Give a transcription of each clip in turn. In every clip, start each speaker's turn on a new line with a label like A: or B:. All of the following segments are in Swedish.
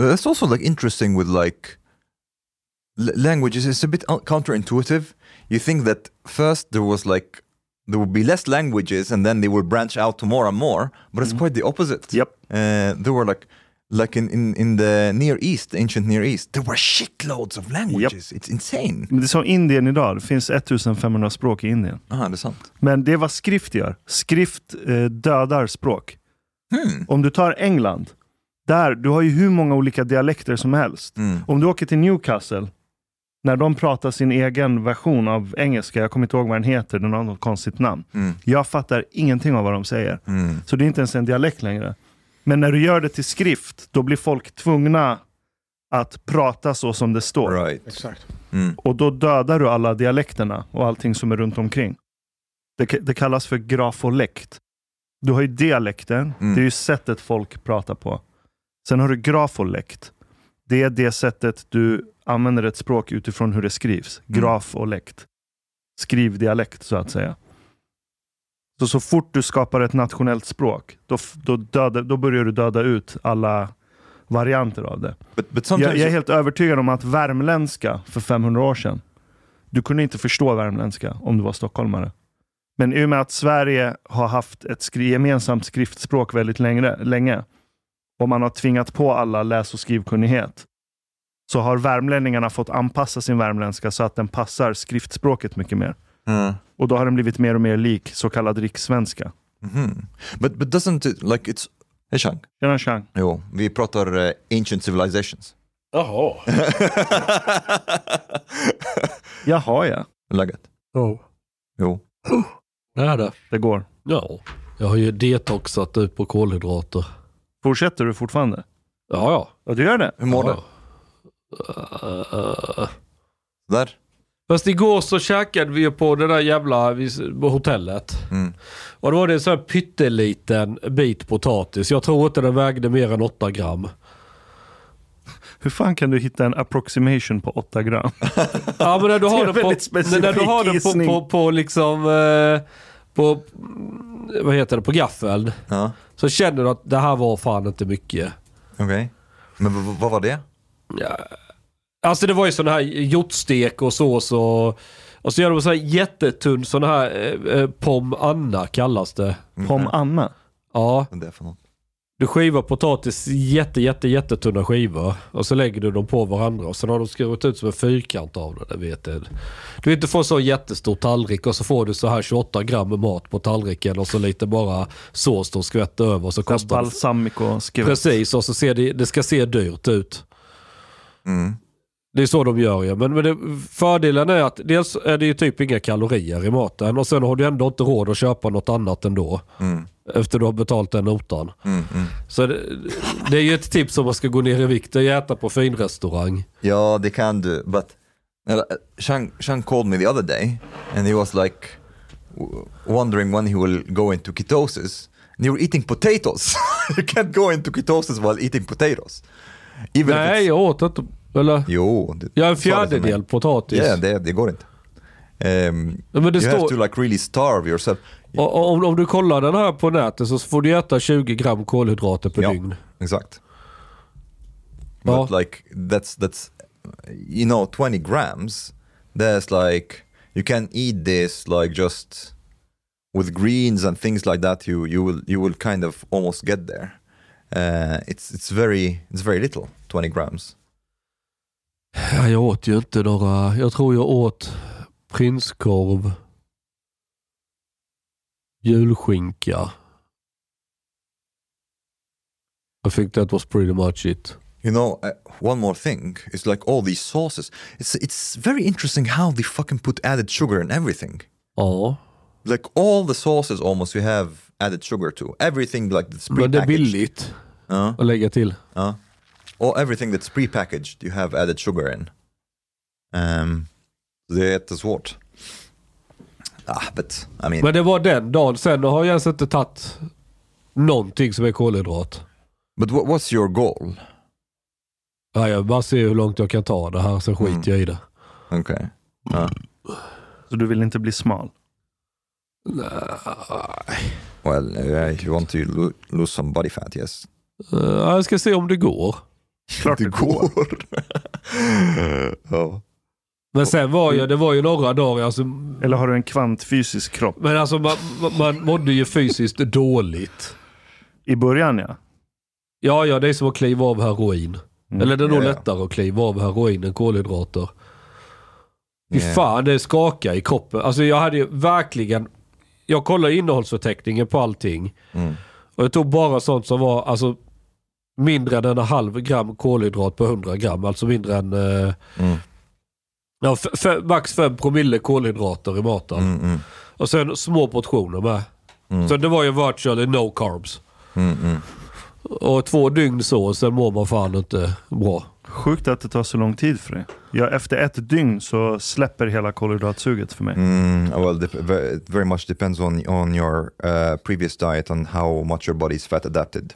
A: Uh, It's also like interesting with like l- languages. It's a bit un- counterintuitive. You think that first there was like there would be less languages, and then they will branch out to more and more. But it's quite the opposite.
B: Yep.
A: Uh, there were like like in, in in the Near East, the ancient Near East, there were shitloads of languages. It's insane.
C: Men Det är som Indien idag, det finns 1500 språk i Indien.
A: Ah, det är sant.
C: Men det är vad skrift gör. Skrift eh, dödar språk. Om du tar England, där du har ju hur många olika dialekter som helst. Om du åker till Newcastle, när de pratar sin egen version av engelska, jag kommer inte ihåg vad den heter, den har något konstigt namn. Jag fattar ingenting av vad de säger.
A: Hmm.
C: Så det är inte ens en dialekt längre. Men när du gör det till skrift, då blir folk tvungna att prata så som det står.
A: Right. Hmm.
D: Exakt.
C: Och då dödar du alla dialekterna och allting som är runt omkring. Det, k- det kallas för grafolekt. Du har ju dialekten,
A: Mm.
C: det är ju sättet folk pratar på. Sen har du grafolekt. Det är det sättet du använder ett språk utifrån hur det skrivs. Graf och lekt. Skrivdialekt, så att säga. Så, så fort du skapar ett nationellt språk, då, f- då, döda, då börjar du döda ut alla varianter av det.
A: But but
C: Jag,
A: sometimes
C: jag är helt övertygad om att värmländska för 500 år sedan, du kunde inte förstå värmländska om du var stockholmare. Men i och med att Sverige har haft ett skri gemensamt skriftspråk väldigt längre, länge och man har tvingat på alla läs och skrivkunnighet, så har värmlänningarna fått anpassa sin värmländska så att den passar skriftspråket mycket mer.
A: Mm.
C: Och då har den blivit mer och mer lik så kallad rikssvenska.
A: Mhm. But but doesn't it like it's Hey, Chang.
C: Tjena tjang.
A: Jo, vi pratar eh, ancient civilizations.
D: Jaha.
C: Jaha ja,
A: Läget?
D: Ja.
A: Jo.
D: Nära.
C: det går.
D: Ja. Jag har ju detoxat ut på kolhydrater.
C: Fortsätter du fortfarande?
D: Ja, ja.
C: Ja, du gör det?
A: Hur mår
D: Ja. Eh,
A: du? Där?
D: Fast igår så käkade vi ju på det där jävla vi- på hotellet.
A: Mm.
D: Och då var det en sån här pytteliten bit potatis. Jag tror inte den vägde mer än 8 gram.
C: Hur fan kan du hitta en approximation på 8 gram?
D: Ja men när du
C: Det är
D: har
C: en
D: den på,
C: väldigt specifik
D: när du har den på,
C: gissning.
D: på, på liksom, eh, på, vad heter det, på gaffeln.
A: Ja,
D: Så känner du att det här var fan inte mycket.
A: okej. Men v- v- vad var det?
D: Alltså det var ju sån här hjortstek och sås och, och så gör de så här jättetunn sån här eh, eh, pom anna kallas det.
C: Pom Anna.
D: Ja,
A: Vad är det för något?
D: Du skivar potatis jätte, jätte, jättetunna skivor och så lägger du dem på varandra och sen har de skurit ut som en fyrkant av det. det Vet jag. Du vill inte få en så jättestor tallrik och så får du så här 28 gram mat på tallriken och så lite bara sås de skvätter över. och Så
C: Där
D: kostar det
C: balsamico skvätt.
D: Precis, och så ser det, det ska se dyrt ut.
A: Mm.
D: Det är så de gör ju. Men, men det, fördelen är att dels är det ju typ inga kalorier i maten och sen har du ändå inte råd att köpa något annat ändå.
A: Mm.
D: Efter du har betalt den notan. Så det, det är ju ett tips om man ska gå ner i vikt, det är att äta på finrestaurang.
A: Ja, they can do. But uh, Shang Shang called me the other day, and he was like w- wondering when he will go into ketosis. And you were eating potatoes. you can't go into ketosis while eating potatoes. Even if
D: Nej,
A: it's-
D: jag åt inte... Eller?
A: Jo, det,
D: Jag är en
A: sa det för mig.
D: fjärdedel potatis.
A: Ja, det, det går inte. Um,
D: Ja, men det
A: you have
D: står-
A: to like really starve yourself.
D: Och, och om, om du kollar den här på nätet så får du äta 20 gram kolhydrater per
A: Ja,
D: dygn.
A: exakt.
D: Ja.
A: But like that's that's you know 20 grams. There's like you can eat this like just with greens and things like that. You you will you will kind of almost get there. Uh, it's it's very it's very little 20 grams.
D: Ja, jag åt ju inte några... Jag tror jag åt prinskorv, julskinka. I think that was pretty much it.
A: You know, uh, one more thing is like all these sauces. It's it's very interesting how they fucking put added sugar in everything.
D: Ja,
A: Like all the sauces almost you have added sugar to. Everything like that's
D: men det är
A: prepackaged.
D: billigt
A: Ja.
D: att lägga till.
A: Ja. Och everything that's prepackaged you have added sugar in. Ehm, det är jättesvårt. Ah, but I mean,
D: Men det var den dagen. Sen har jag ens inte tagit någonting som är kolhydrat.
A: but what, what's your goal?
D: Ja, jag bara ser hur långt jag kan ta det här, sen skiter jag i det.
A: Okay.
C: Så du vill inte bli smal.
A: Well, uh, if you want to lo- lose some body fat, yes.
D: Eh, ja, jag ska se om det går.
C: Klart det går.
A: ja.
D: Men sen var jag, det var ju några dagar, alltså
C: Eller har du en kvantfysisk kropp?
D: Men alltså man, man- man mådde ju fysiskt dåligt.
C: I början ja.
D: Ja, ja, det är som att kliva av heroin. Eller det är nog
A: Mm. Ja, ja.
D: lättare att kliva av heroin än kolhydrater. Fy
A: Ja.
D: fan, det skakar i kroppen. Alltså jag hade ju verkligen... Jag kollade innehållsförteckningen på allting.
A: Mm.
D: Och jag tog bara sånt som var alltså, mindre än en halv gram kolhydrat på 100 gram. Alltså mindre än... Eh,
A: Mm.
D: ja, f- f- max 5 promille kolhydrater i maten.
A: Mm,
D: Och sen små portioner med. Så det var ju virtually no carbs. Och två dygn så, sen mår man fan inte bra.
C: Sjukt att det tar så lång tid för dig. Ja, efter ett dygn så släpper hela kolhydratsuget för mig.
A: Mm, well, dep- ve- it very much depends on on your uh, previous diet and how much your body is fat adapted.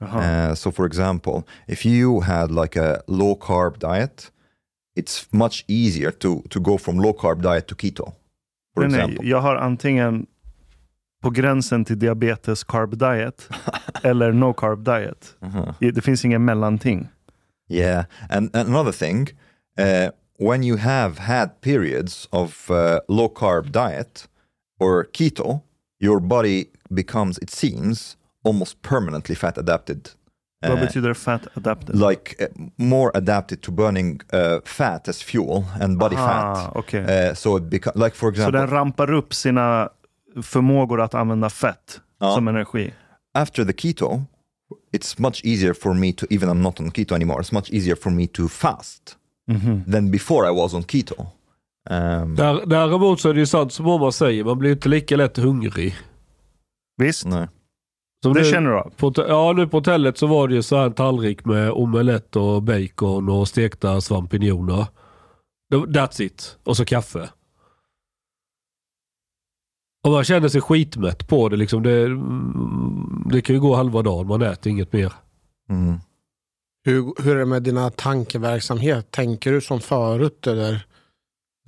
D: Eh,
A: Uh, so, for example, if you had like a low carb diet, it's much easier to to go from low carb diet to keto. For
C: Nej, nej,
A: example,
C: jag har antingen på gränsen till diabetes carb diet eller no carb diet.
D: Mhm.
C: I- Det finns ingen mellanting.
A: yeah. And, and another thing, uh, when you have had periods of uh, low carb diet or keto, your body becomes, it seems, almost permanently fat adapted
D: Eh.
A: uh,
C: Vad betyder det fat adapted?
A: like uh, more adapted to burning uh, fat as fuel and body
C: Ah,
A: fat.
C: okay.
A: Uh, so it becomes like for
C: Så
A: example
C: den rampar upp sina förmågor att använda fett
A: Ja.
C: som energi.
A: after the keto, it's much easier for me to even I'm not on keto anymore. It's much easier for me to fast than before I was on keto. Um,
D: Där, däremot så är det ju sant som mamma säger, man blir ju inte lika lätt hungrig.
C: Visst,
A: no.
D: Som
C: det
D: nu-
C: känner du av.
D: På, hotell- ja, nu på hotellet så var det ju så här en tallrik med omelett och bacon och stekta svampinjoner. Det- That's it. Och så kaffe. Och man känner sig skitmätt på det. Liksom det, mm, det kan ju gå halva dagen, man äter inget mer.
A: Mm.
E: Hur, hur är det med dina tankeverksamhet? Tänker du som förut eller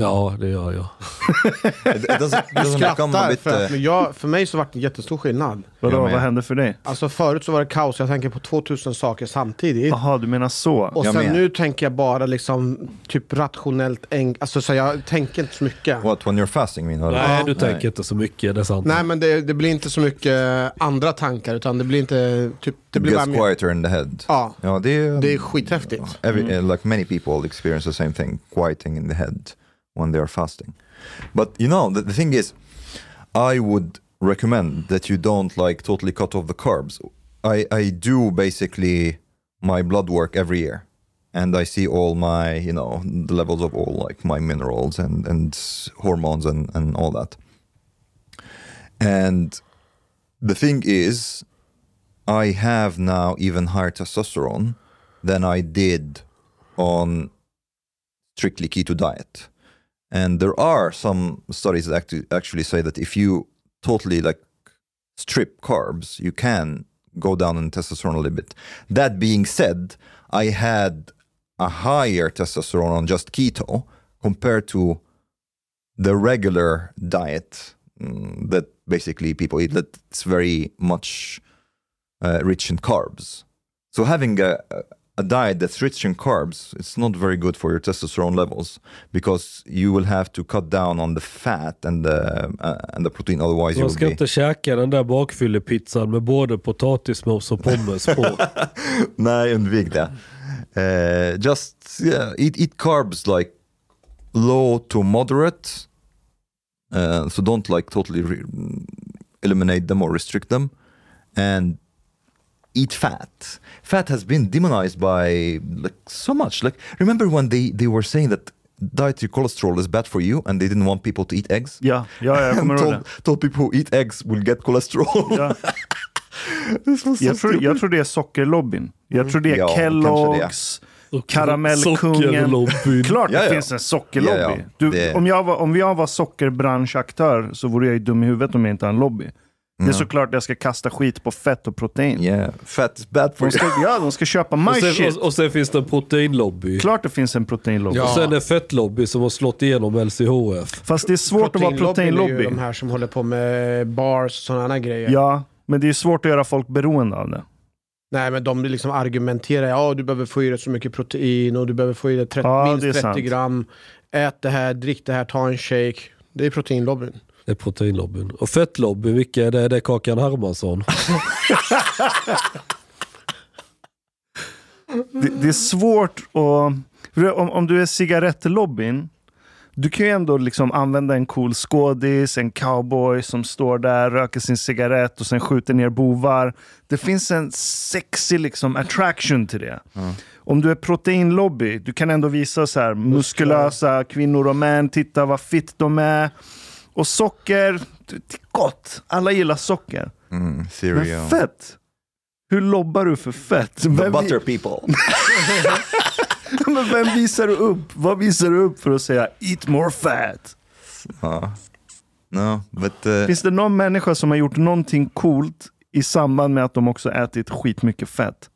D: Ja, det gör jag.
A: It it doesn't, it doesn't become a
E: Skrattar,
A: bit...
E: för, att,
A: Uh,
E: men jag, för mig så var det en jättestor skillnad.
C: Vadå,
A: Jag med.
C: vad hände för dig?
E: Alltså förut så var det kaos, jag tänker på 2000 saker samtidigt.
C: Jaha, du menar så.
E: Och
A: jag
E: sen
A: med.
E: nu tänker jag bara liksom typ rationellt, en, alltså så jag tänker inte så mycket.
A: what, when you're fasting menar du?
D: Nej, du tänker inte så mycket. Det är sant.
E: Nej men det, det blir inte så mycket andra tankar utan det blir inte, typ, det
A: It
E: blir bara
A: gets
E: mer,
A: quieter in the head.
E: Ja.
A: Ja, det är...
E: det är skithäftigt. Mm.
A: Every, uh, like many people experience the same thing, quieting in the head when they are fasting. But you know, the, the thing is, I would recommend that you don't like totally cut off the carbs. I, I do basically my blood work every year. And I see all my, you know, the levels of all like my minerals and, and hormones and, and all that. And the thing is, I have now even higher testosterone than I did on strictly keto diet. And there are some studies that actu- actually say that if you totally like strip carbs, you can go down in testosterone a little bit. That being said, I had a higher testosterone on just keto compared to the regular diet mm, that basically people eat that's very much uh, rich in carbs. So having a, a diet that's rich in carbs, it's not very good for your testosterone levels because you will have to cut down on the fat and the uh, and the protein. Otherwise, you
D: Man ska
A: will be.
D: inte käka den där bakfyllepizzan med både potatismos och pommes på.
A: Nej, undvik det. Uh, just yeah, eat eat carbs like low to moderate. Uh, so don't like totally re- eliminate them or restrict them, and eat fat. Fat has been demonized by like so much. Like remember when they they were saying that dietary cholesterol is bad for you, and they didn't want people to eat eggs.
C: Ja, ja, jag kommer
A: and
C: ihåg det.
A: told, told people who eat eggs will get cholesterol.
C: Ja.
A: this was so
C: Jag tror,
A: stupid.
C: jag tror det är sockerlobbyn. Jag tror det är
A: Mm. Ja, kanske det.
C: Kellogg's, Karamellkungen.
D: Sockerlobbyn.
C: Klart det
A: Ja, ja.
C: finns en sockerlobby.
A: Ja, ja.
C: Du,
A: Det-
C: om, jag var, om jag var sockerbranschaktör så vore jag ju dum i huvudet om jag inte har en lobby. Det är
A: Mm.
C: såklart att jag ska kasta skit på fett och protein.
A: Yeah, fat is bad for
C: De
A: you.
C: ska, ja, de ska köpa my
D: Och sen,
C: shit.
D: och, och sen finns det en proteinlobby.
C: Klart det finns en proteinlobby.
D: Och sen en fettlobby som har slått igenom LCHF.
C: Fast det är svårt att vara
E: är ju
C: proteinlobby.
E: de här som håller på med bars och sådana grejer.
C: Ja, men det är svårt att göra folk beroende av det.
E: Nej men de liksom argumenterar, ja du behöver få i dig så mycket protein och du behöver få i dig 30,
C: Ja, det är
E: minst 30
C: sant.
E: gram. Ät det här, drick det här, ta en shake. Det är proteinlobbyn.
D: Det är proteinlobbyn. Och fettlobbyn, vilka är det? Det är Kakan Hermansson.
C: Det, det är svårt att... för Om, om du är cigarettlobbyn, du kan ju ändå liksom använda en cool skådis, en cowboy som står där, röker sin cigarett och sen skjuter ner bovar. Det finns en sexy liksom attraction till det. Om du är proteinlobby, du kan ändå visa så här, muskulösa kvinnor och män, titta vad fitt de är. Och socker, det det är gott. Alla gillar socker.
A: Mm, cereal.
C: Men fett? Hur lobbar du för fett?
A: The
C: Vem,
A: butter people.
C: men vem visar du upp? Vad visar du upp för att säga eat more fat?
A: Ja. No, but uh,
C: Finns det någon människa som har gjort någonting coolt i samband med att de också ätit skitmycket fett?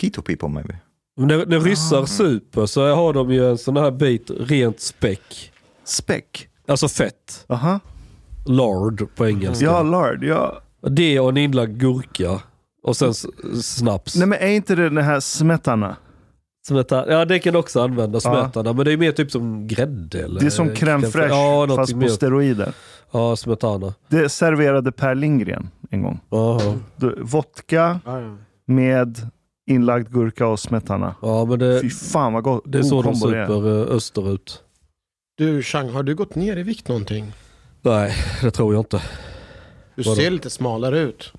A: keto people maybe.
D: Men När, när
C: Ah.
D: ryssar super så har de ju en sån här bit rent späck.
C: Späck?
D: Alltså fett.
C: Aha.
D: Lard på engelska.
C: Ja, lard. Ja.
D: Det och en inlagd gurka. Och sen s- snaps.
C: Nej men är inte det den här smetana?
D: Smeta, ja, det kan också användas,
C: Ja.
D: smetana. Men det är mer typ som grädde. Eller
C: Det är som crème fraîche
D: Ja, någonting
C: fast på
D: mer.
C: steroider.
D: Ja, smetana.
C: Det serverade Per Lindgren en gång.
D: Jaha.
C: Du- Vodka
D: Ah,
C: med inlagd gurka och smetana.
D: Ja, men det,
C: Fy fan vad gott.
D: Eh, det är så
C: god
D: de
C: kombo det är.
D: super eh, österut.
E: Du Chang, har du gått ner i vikt någonting?
D: Nej, det tror jag inte.
E: Du
D: Vadå?
E: ser lite smalare ut.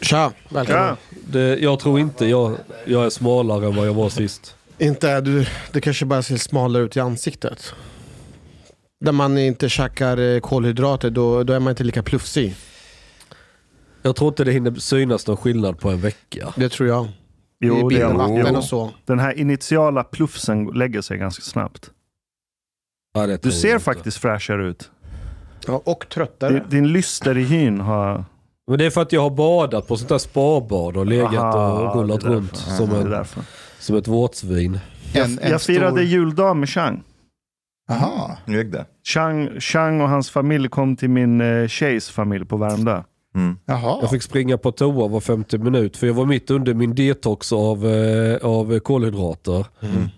E: Tja, välkommen.
C: Ja.
D: Det, jag tror inte jag, jag är smalare än vad jag var sist.
E: Inte, du, det kanske bara ser smalare ut i ansiktet. När man inte käkar eh, kolhydrater då, då är man inte lika plufsig.
D: Jag tror inte det hinner synas någon skillnad på en vecka.
E: Det tror jag. I
C: Jo, det
E: bilden,
C: är,
E: vatten
C: jo.
E: och så.
C: Den här initiala plufsen lägger sig ganska snabbt.
D: Ja, det
C: Du
D: tror jag
C: ser
D: inte.
C: faktiskt fräschare ut.
E: Ja, och
C: Din,
E: tröttare.
C: din lyster i hyn har...
D: Men det är för att jag har badat på sånt där spabad och legat
C: Aha,
D: och rullat
C: det är
D: runt
C: därför.
D: som,
C: Det är
D: en,
C: därför.
D: som ett våtsvin.
F: En, en
C: Jag firade
F: stor...
C: juldag med Chang.
F: Aha.
A: Nu gick det.
C: Chang. Chang och hans familj kom till min eh, tjejs familj på Värmdö.
A: Mm.
F: Jaha.
D: Jag fick springa på toa var 50 minut för jag var mitt under min detox av, eh, av kolhydrater.
A: Mm.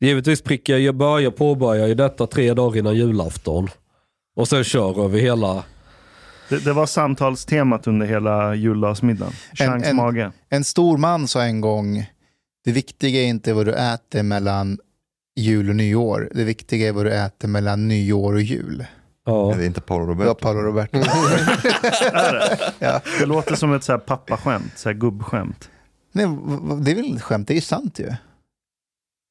D: Givetvis prickar jag, jag börjar påbörja i detta tre dagar innan julafton. Och sen kör över hela...
C: Det, det var samtalstemat under hela juldagsmiddagen. Changs
F: en-
C: mage.
F: En stor man sa en gång, det viktiga är inte vad du äter mellan jul och nyår. Det viktiga är vad du äter mellan nyår och jul.
D: Ja.
A: Är det inte Paolo
F: Det var
A: Roberto?
F: Paolo Roberto.
C: Det låter som ett så här pappaskämt, så här gubbskämt.
F: Nej, v- v- det är väl ett skämt, det är ju sant ju.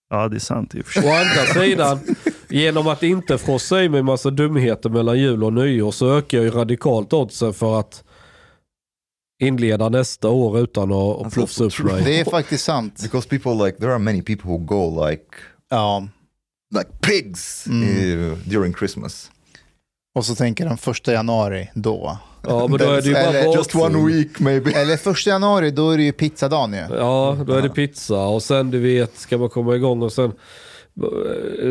C: Ja, det är sant i och för sig.
D: Å andra sidan, genom att inte frossa i mig massa dumheter mellan jul och nyår så ökar jag ju radikalt oddsen för att inleda nästa år utan att, att plofsa upp mig.
F: Det är faktiskt sant.
A: Because people like, there are many people who go like,
F: Ja.
A: like pigs eh, during Christmas.
F: Och så tänker de första januari då.
D: Ja, men då är det ju bara
F: Eller
A: Just one
D: bakfull.
A: week maybe.
F: Eller första januari, då är det ju pizzadagen ju.
D: Ja, då är det pizza och sen du vet ska man komma igång och sen,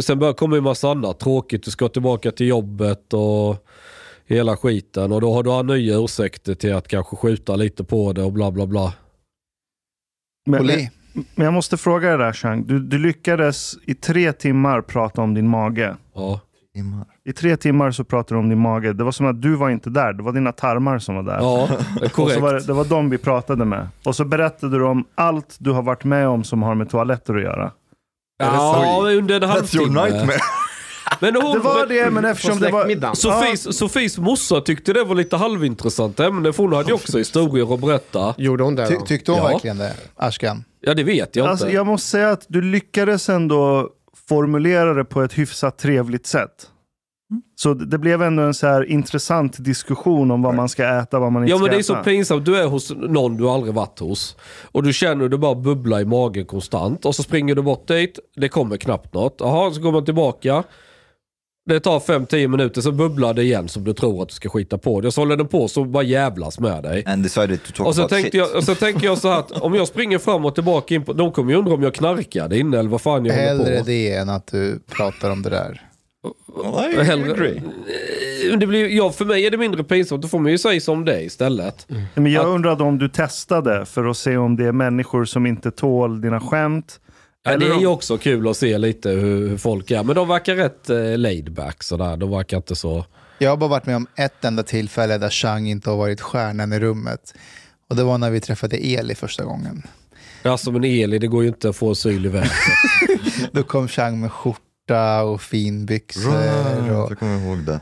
D: sen börjar komma en massa annat tråkigt. Du ska tillbaka till jobbet och hela skiten och då har du nya ursäkter till att kanske skjuta lite på det och bla bla bla.
C: Men, men,
F: Oli.
C: men jag måste fråga dig där Chang. Du, du lyckades i tre timmar prata om din mage.
D: Ja,
C: I tre timmar så pratade du om din mage. Det var som att du var inte där. Det var dina tarmar som var där.
D: ja det är
C: Och så
D: korrekt.
C: var det, det var de vi pratade med. Och så berättade du om allt du har varit med om som har med toaletter att göra.
D: Ja, under en
A: That's your
D: halvtimme.
A: nightmare.
D: Men hon,
C: Det var det, men eftersom det var...
E: släktmiddagen.
D: Sofies, Sofies morsa tyckte det var lite halvintressant ämne för hon hade ju också historier att berätta.
E: Gjorde hon det
F: Ty,
E: då?
F: tyckte hon
D: Ja.
F: verkligen det, Ashkan?
D: Ja det vet jag
C: Alltså,
D: inte.
C: jag måste säga att du lyckades ändå formulera det på ett hyfsat trevligt sätt. Så det det blev ändå en så här intressant diskussion om vad man ska äta vad man inte
D: Ja men
C: ska
D: det är
C: äta.
D: så pinsamt. Du är hos någon du aldrig varit hos. Och du känner hur det bara bubblar i magen konstant. Och så springer du bort dit. Det kommer knappt något. Jaha, så går man tillbaka. Det tar 5-10 minuter, så bubblar det igen som du tror att du ska skita på dig. Så håller den på så bara jävlas med dig.
A: And decided to talk
D: Och så,
A: about
D: tänkte
A: shit.
D: jag, och så tänker jag så här att om jag springer fram och tillbaka in på... De kommer ju undra om jag knarkade inne eller vad fan jag
F: Hellre
D: håller på.
F: det än att du pratar om det där.
A: Well, I agree.
D: Eh, Det blir, ja, för mig är det mindre pinsamt. Då får man ju säga som det istället.
A: Mm.
C: Men jag undrade om du testade för att se om det är människor som inte tål dina skämt.
D: Ja, det
C: Eller
D: är
C: om-
D: ju också kul att se lite hur, hur folk är. Men de verkar rätt eh, laid back sådär. De verkar inte så...
F: Jag har bara varit med om ett enda tillfälle där Chang inte har varit stjärnan i rummet. Och det var när vi träffade Eli första gången.
D: Ja, som en Eli, det går ju inte att få syl i vädret.
F: Då kom Chang med skjorta och finbyxor.
A: Right.
F: Och,
A: Jag kommer ihåg det.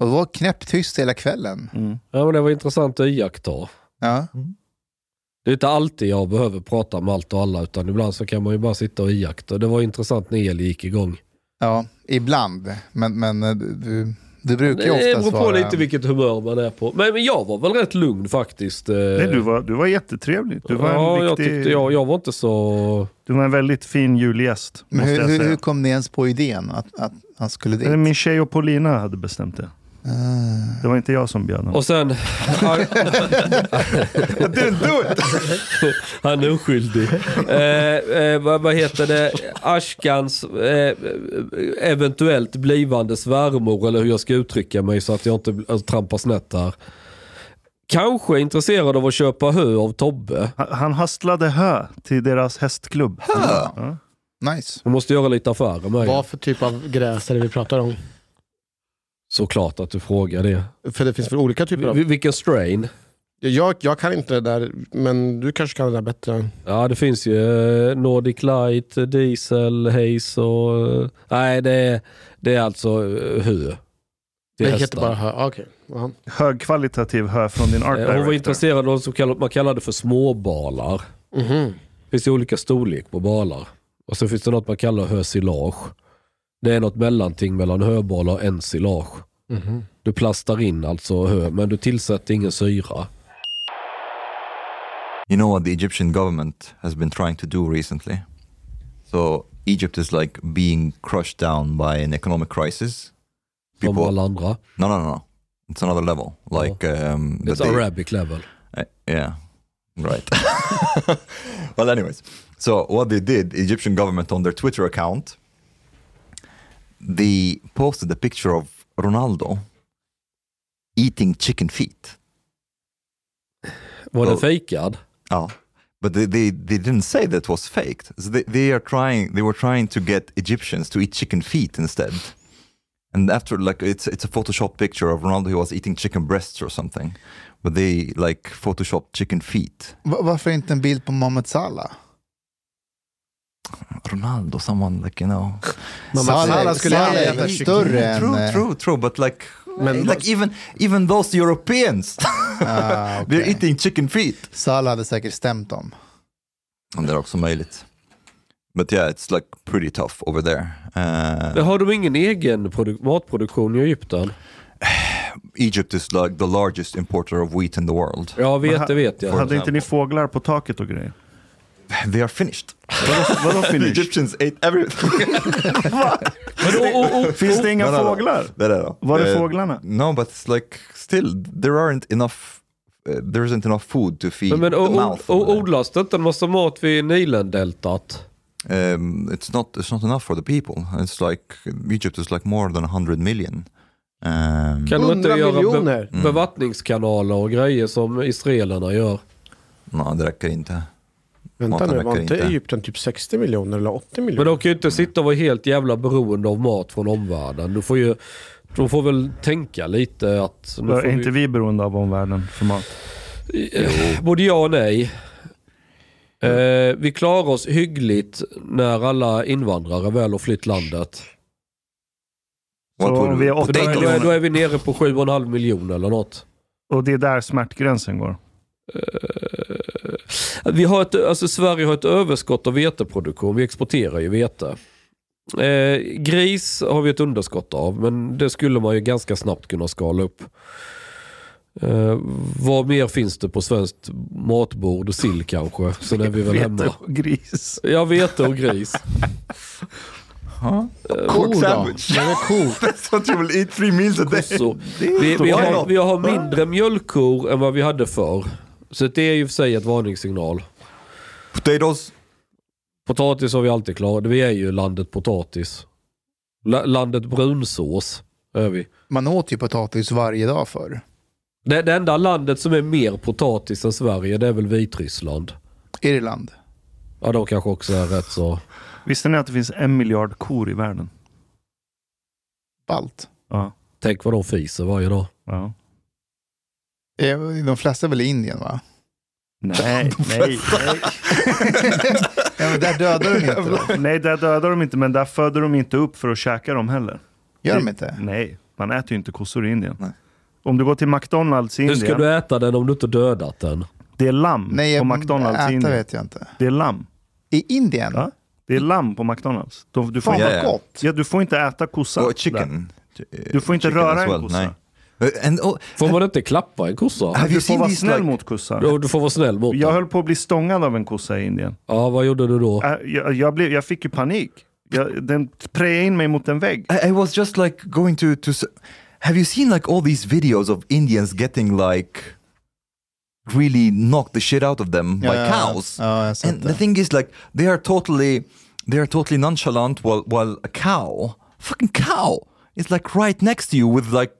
F: och det var knäpptyst hela kvällen.
D: Ja, men det var intressant att iaktta.
F: Ja.
C: Mm.
D: Det är inte alltid jag behöver prata med allt och alla, utan ibland så kan man ju bara sitta och iaktta. Det var intressant när Eli gick igång.
F: Ja, ibland. Men, men eh, du, du brukar ju
D: Det beror
F: oftast
D: på
F: vara...
D: lite vilket humör man är på. Men, men jag var väl rätt lugn faktiskt. eh.
C: Nej, du, var, du var jättetrevlig. Du var,
D: ja,
C: en
D: jag,
C: riktig,
D: tyckte, jag, jag var inte så...
C: du var en väldigt fin julgäst.
F: Men
C: måste
F: hur,
C: jag
F: hur,
C: säga.
F: hur kom ni ens på idén att, att han skulle dit?
C: Eller Min tjej och Paulina hade bestämt det.
F: Ah.
C: Det var inte jag som bjöd henne.
D: Och sen... Han, han är oskyldig. Eh, eh, vad, vad heter det? Ashkans eh, eventuellt blivande svärmor, eller hur jag ska uttrycka mig så att jag inte alltså, trampar snett här. Kanske är intresserad av att köpa hö av Tobbe.
C: Han, han hastlade hö till deras hästklubb. Ja.
F: Nice.
D: Hon måste göra lite affärer med
E: Vad
D: er.
E: för typ av gräs är det vi pratar om?
D: Såklart att du frågar det.
E: För det finns väl olika typer av...
D: Vi- Vilken strain?
E: Jag, jag kan inte det där, men du kanske kan det där bättre.
D: Ja, det finns ju eh, Nordic Light, eh, Diesel, Haze och... eh, Nej, det är, det är alltså eh, hö.
E: Det,
D: till
E: heter
D: hästar.
E: bara hö. Ah, Okej. Ja.
C: Högkvalitativ hö från din art
D: Eh, Hon var
C: director.
D: intresserad av något som kallar- man kallade för småbalar.
E: Mhm.
D: Det finns ju olika storlek på balar. Och så finns det något man kallar hösilage. Det är något mellanting mellan höbalar och ensilage.
E: Mhm.
D: Du plastar in alltså hö, men du tillsätter ingen syra.
A: You know what the Egyptian government has been trying to do recently? So Egypt is like being crushed down by an economic crisis.
D: Som
A: People-
D: alla andra.
A: No, no, no, no. It's another level. Like um, that
D: It's
A: they-
D: Arabic level.
A: Uh, yeah, right. well, anyways, So what they did, Egyptian government on their Twitter account, they posted a picture of Ronaldo eating chicken feet.
D: Var den
A: Ja.
D: fejkad?
A: Oh. But they, they, they didn't say that was faked. So they, they are trying they were trying to get Egyptians to eat chicken feet instead. And after like it's it's a Photoshop picture of Ronaldo who was eating chicken breasts or something. But they like photoshopped chicken feet.
F: Va- Varför inte en bild på Mohamed Salah?
A: Ronaldo, someone like you know
F: Salah, Salah
E: Salah
F: skulle
E: skulle
F: Salah
E: aldrig
F: är
E: äta
F: väl
E: kyckling.
F: större än...
A: True,
F: eh,
A: true, true, but like
E: Men-
A: like even even those Europeans
F: ah,
A: they're
F: okej.
A: eating chicken feet.
F: Salah hade säkert stämt dem.
A: And they're also möjligt. But yeah, it's like pretty tough over there. Uh,
D: Men har de ingen egen produ- matproduktion i Egypten?
A: Egypt is like the largest importer of wheat in the world.
D: Ja, vet, det vet jag.
C: Hade inte ni fåglar på taket och grejer?
A: They are finished.
C: Vadå
A: The
C: finish?
F: typ
A: Egyptians ate everything.
D: Men, och, och, och,
C: Finns det inga
A: No, no, no.
C: fåglar?
A: No, no, no.
C: Var är
A: Eh,
C: fåglarna?
A: No, but it's like still there aren't enough. Uh, there isn't enough food to feed
D: men, men,
A: the
D: och, och,
A: mouth.
D: och odlas det inte en massa mat vid Nilendeltat?
A: um, it's not. It's not enough for the people. It's like Egypt is like more than hundred million. Um,
D: Kan de inte
E: 100
D: göra
E: miljoner.
A: Mm.
D: be, bevattningskanaler och grejer som israelerna gör?
A: no, det räcker inte.
E: Vänta
A: Maten
E: nu,
A: räcker
E: var inte
A: inte.
E: Egypten typ 60 miljoner eller 80
D: Men
E: miljoner?
D: de kan ju inte sitta och vara helt jävla beroende av mat från omvärlden. Du får ju, de får väl tänka lite att... Nu får
C: Är inte
D: vi,
C: vi beroende av omvärlden för mat?
D: både ja och nej. Eh, vi klarar oss hyggligt när alla invandrare väl har flytt landet.
C: Så
A: would
C: om
A: we-
C: vi är åtta
D: För då,
C: Potato.
D: då, är, då är vi nere på 7,5 miljoner eller något.
C: Och det är där smärtgränsen går.
D: Eh, Vi har ett, alltså Sverige har ett överskott av veteproduktion. Vi exporterar ju vete. Eh, gris har vi ett underskott av, men det skulle man ju ganska snabbt kunna skala upp. Eh, vad mer finns det på svenskt matbord? Sill kanske? Sen är vi väl hemma.
C: Vete och gris.
D: Ja, vete och gris.
F: Ko då?
A: sandwich.
F: Men en ko.
A: That's what you will eat three meals a day.
D: Så, vi, vi, har, vi har mindre mjölkkor än vad vi hade förr. Så det är ju för sig ett varningssignal.
A: Potatoes.
D: Potatis har vi alltid klarat. Vi är ju landet potatis. La- landet brunsås är vi.
F: Man åt ju potatis varje dag förr.
D: Det, det enda landet som är mer potatis än Sverige det är väl Vitryssland.
F: Irland.
D: Ja, de kanske också är rätt så.
C: Visste ni att det finns en miljard kor i världen?
F: Balt.
C: Ja.
D: Tänk vad de fiser varje dag.
C: ja.
F: Eh, De flesta är väl i Indien va?
C: Nej, nej,
F: Ja, men där dödar de inte. va?
C: nej. nej, där dödar de inte, men där föder de inte upp för att käka dem heller.
F: Gör de inte?
C: Nej, man äter ju inte kossor i Indien.
A: Nej.
C: Om du går till McDonalds i
D: Hur ska
C: Indien,
D: du äta den om du inte dödat den?
C: det är lamm
F: Nej,
C: på
F: jag-
C: McDonalds i
F: äta
C: Indien.
F: vet jag inte.
C: Det är lamm.
F: I Indien?
C: Ja. Det är lamm på McDonalds. De, du, får,
F: Fan
A: Ja,
C: inte,
A: ja.
F: vad gott.
C: ja, du får inte äta kossa.
A: Oh,
C: där.
A: chicken.
C: Du får inte
A: Chicken
C: röra
A: as
C: en kossa.
A: Nej. Eh, And, oh,
D: Får man inte klappa en kossa?
A: have
C: Du
A: you
C: får
A: seen
C: vara
A: these,
C: snäll
A: like-
C: mot kossar.
D: Du, du får vara snäll mot
C: Jag
D: den.
C: höll på att bli stångad av en kossa i Indien.
D: Ja, vad gjorde du då?
C: Äh, Jag, jag, blev, jag fick ju panik. Jag, den prejade in mig mot en vägg.
A: I, I was just like going to to. s- Have you seen like all these videos of Indians getting like really knocked the shit out of them by
F: Ja, ja,
A: cows?
F: ja, jag har sett
A: and the
F: det.
A: thing is like they are totally they are totally nonchalant while while a cow fucking cow is like right next to you with like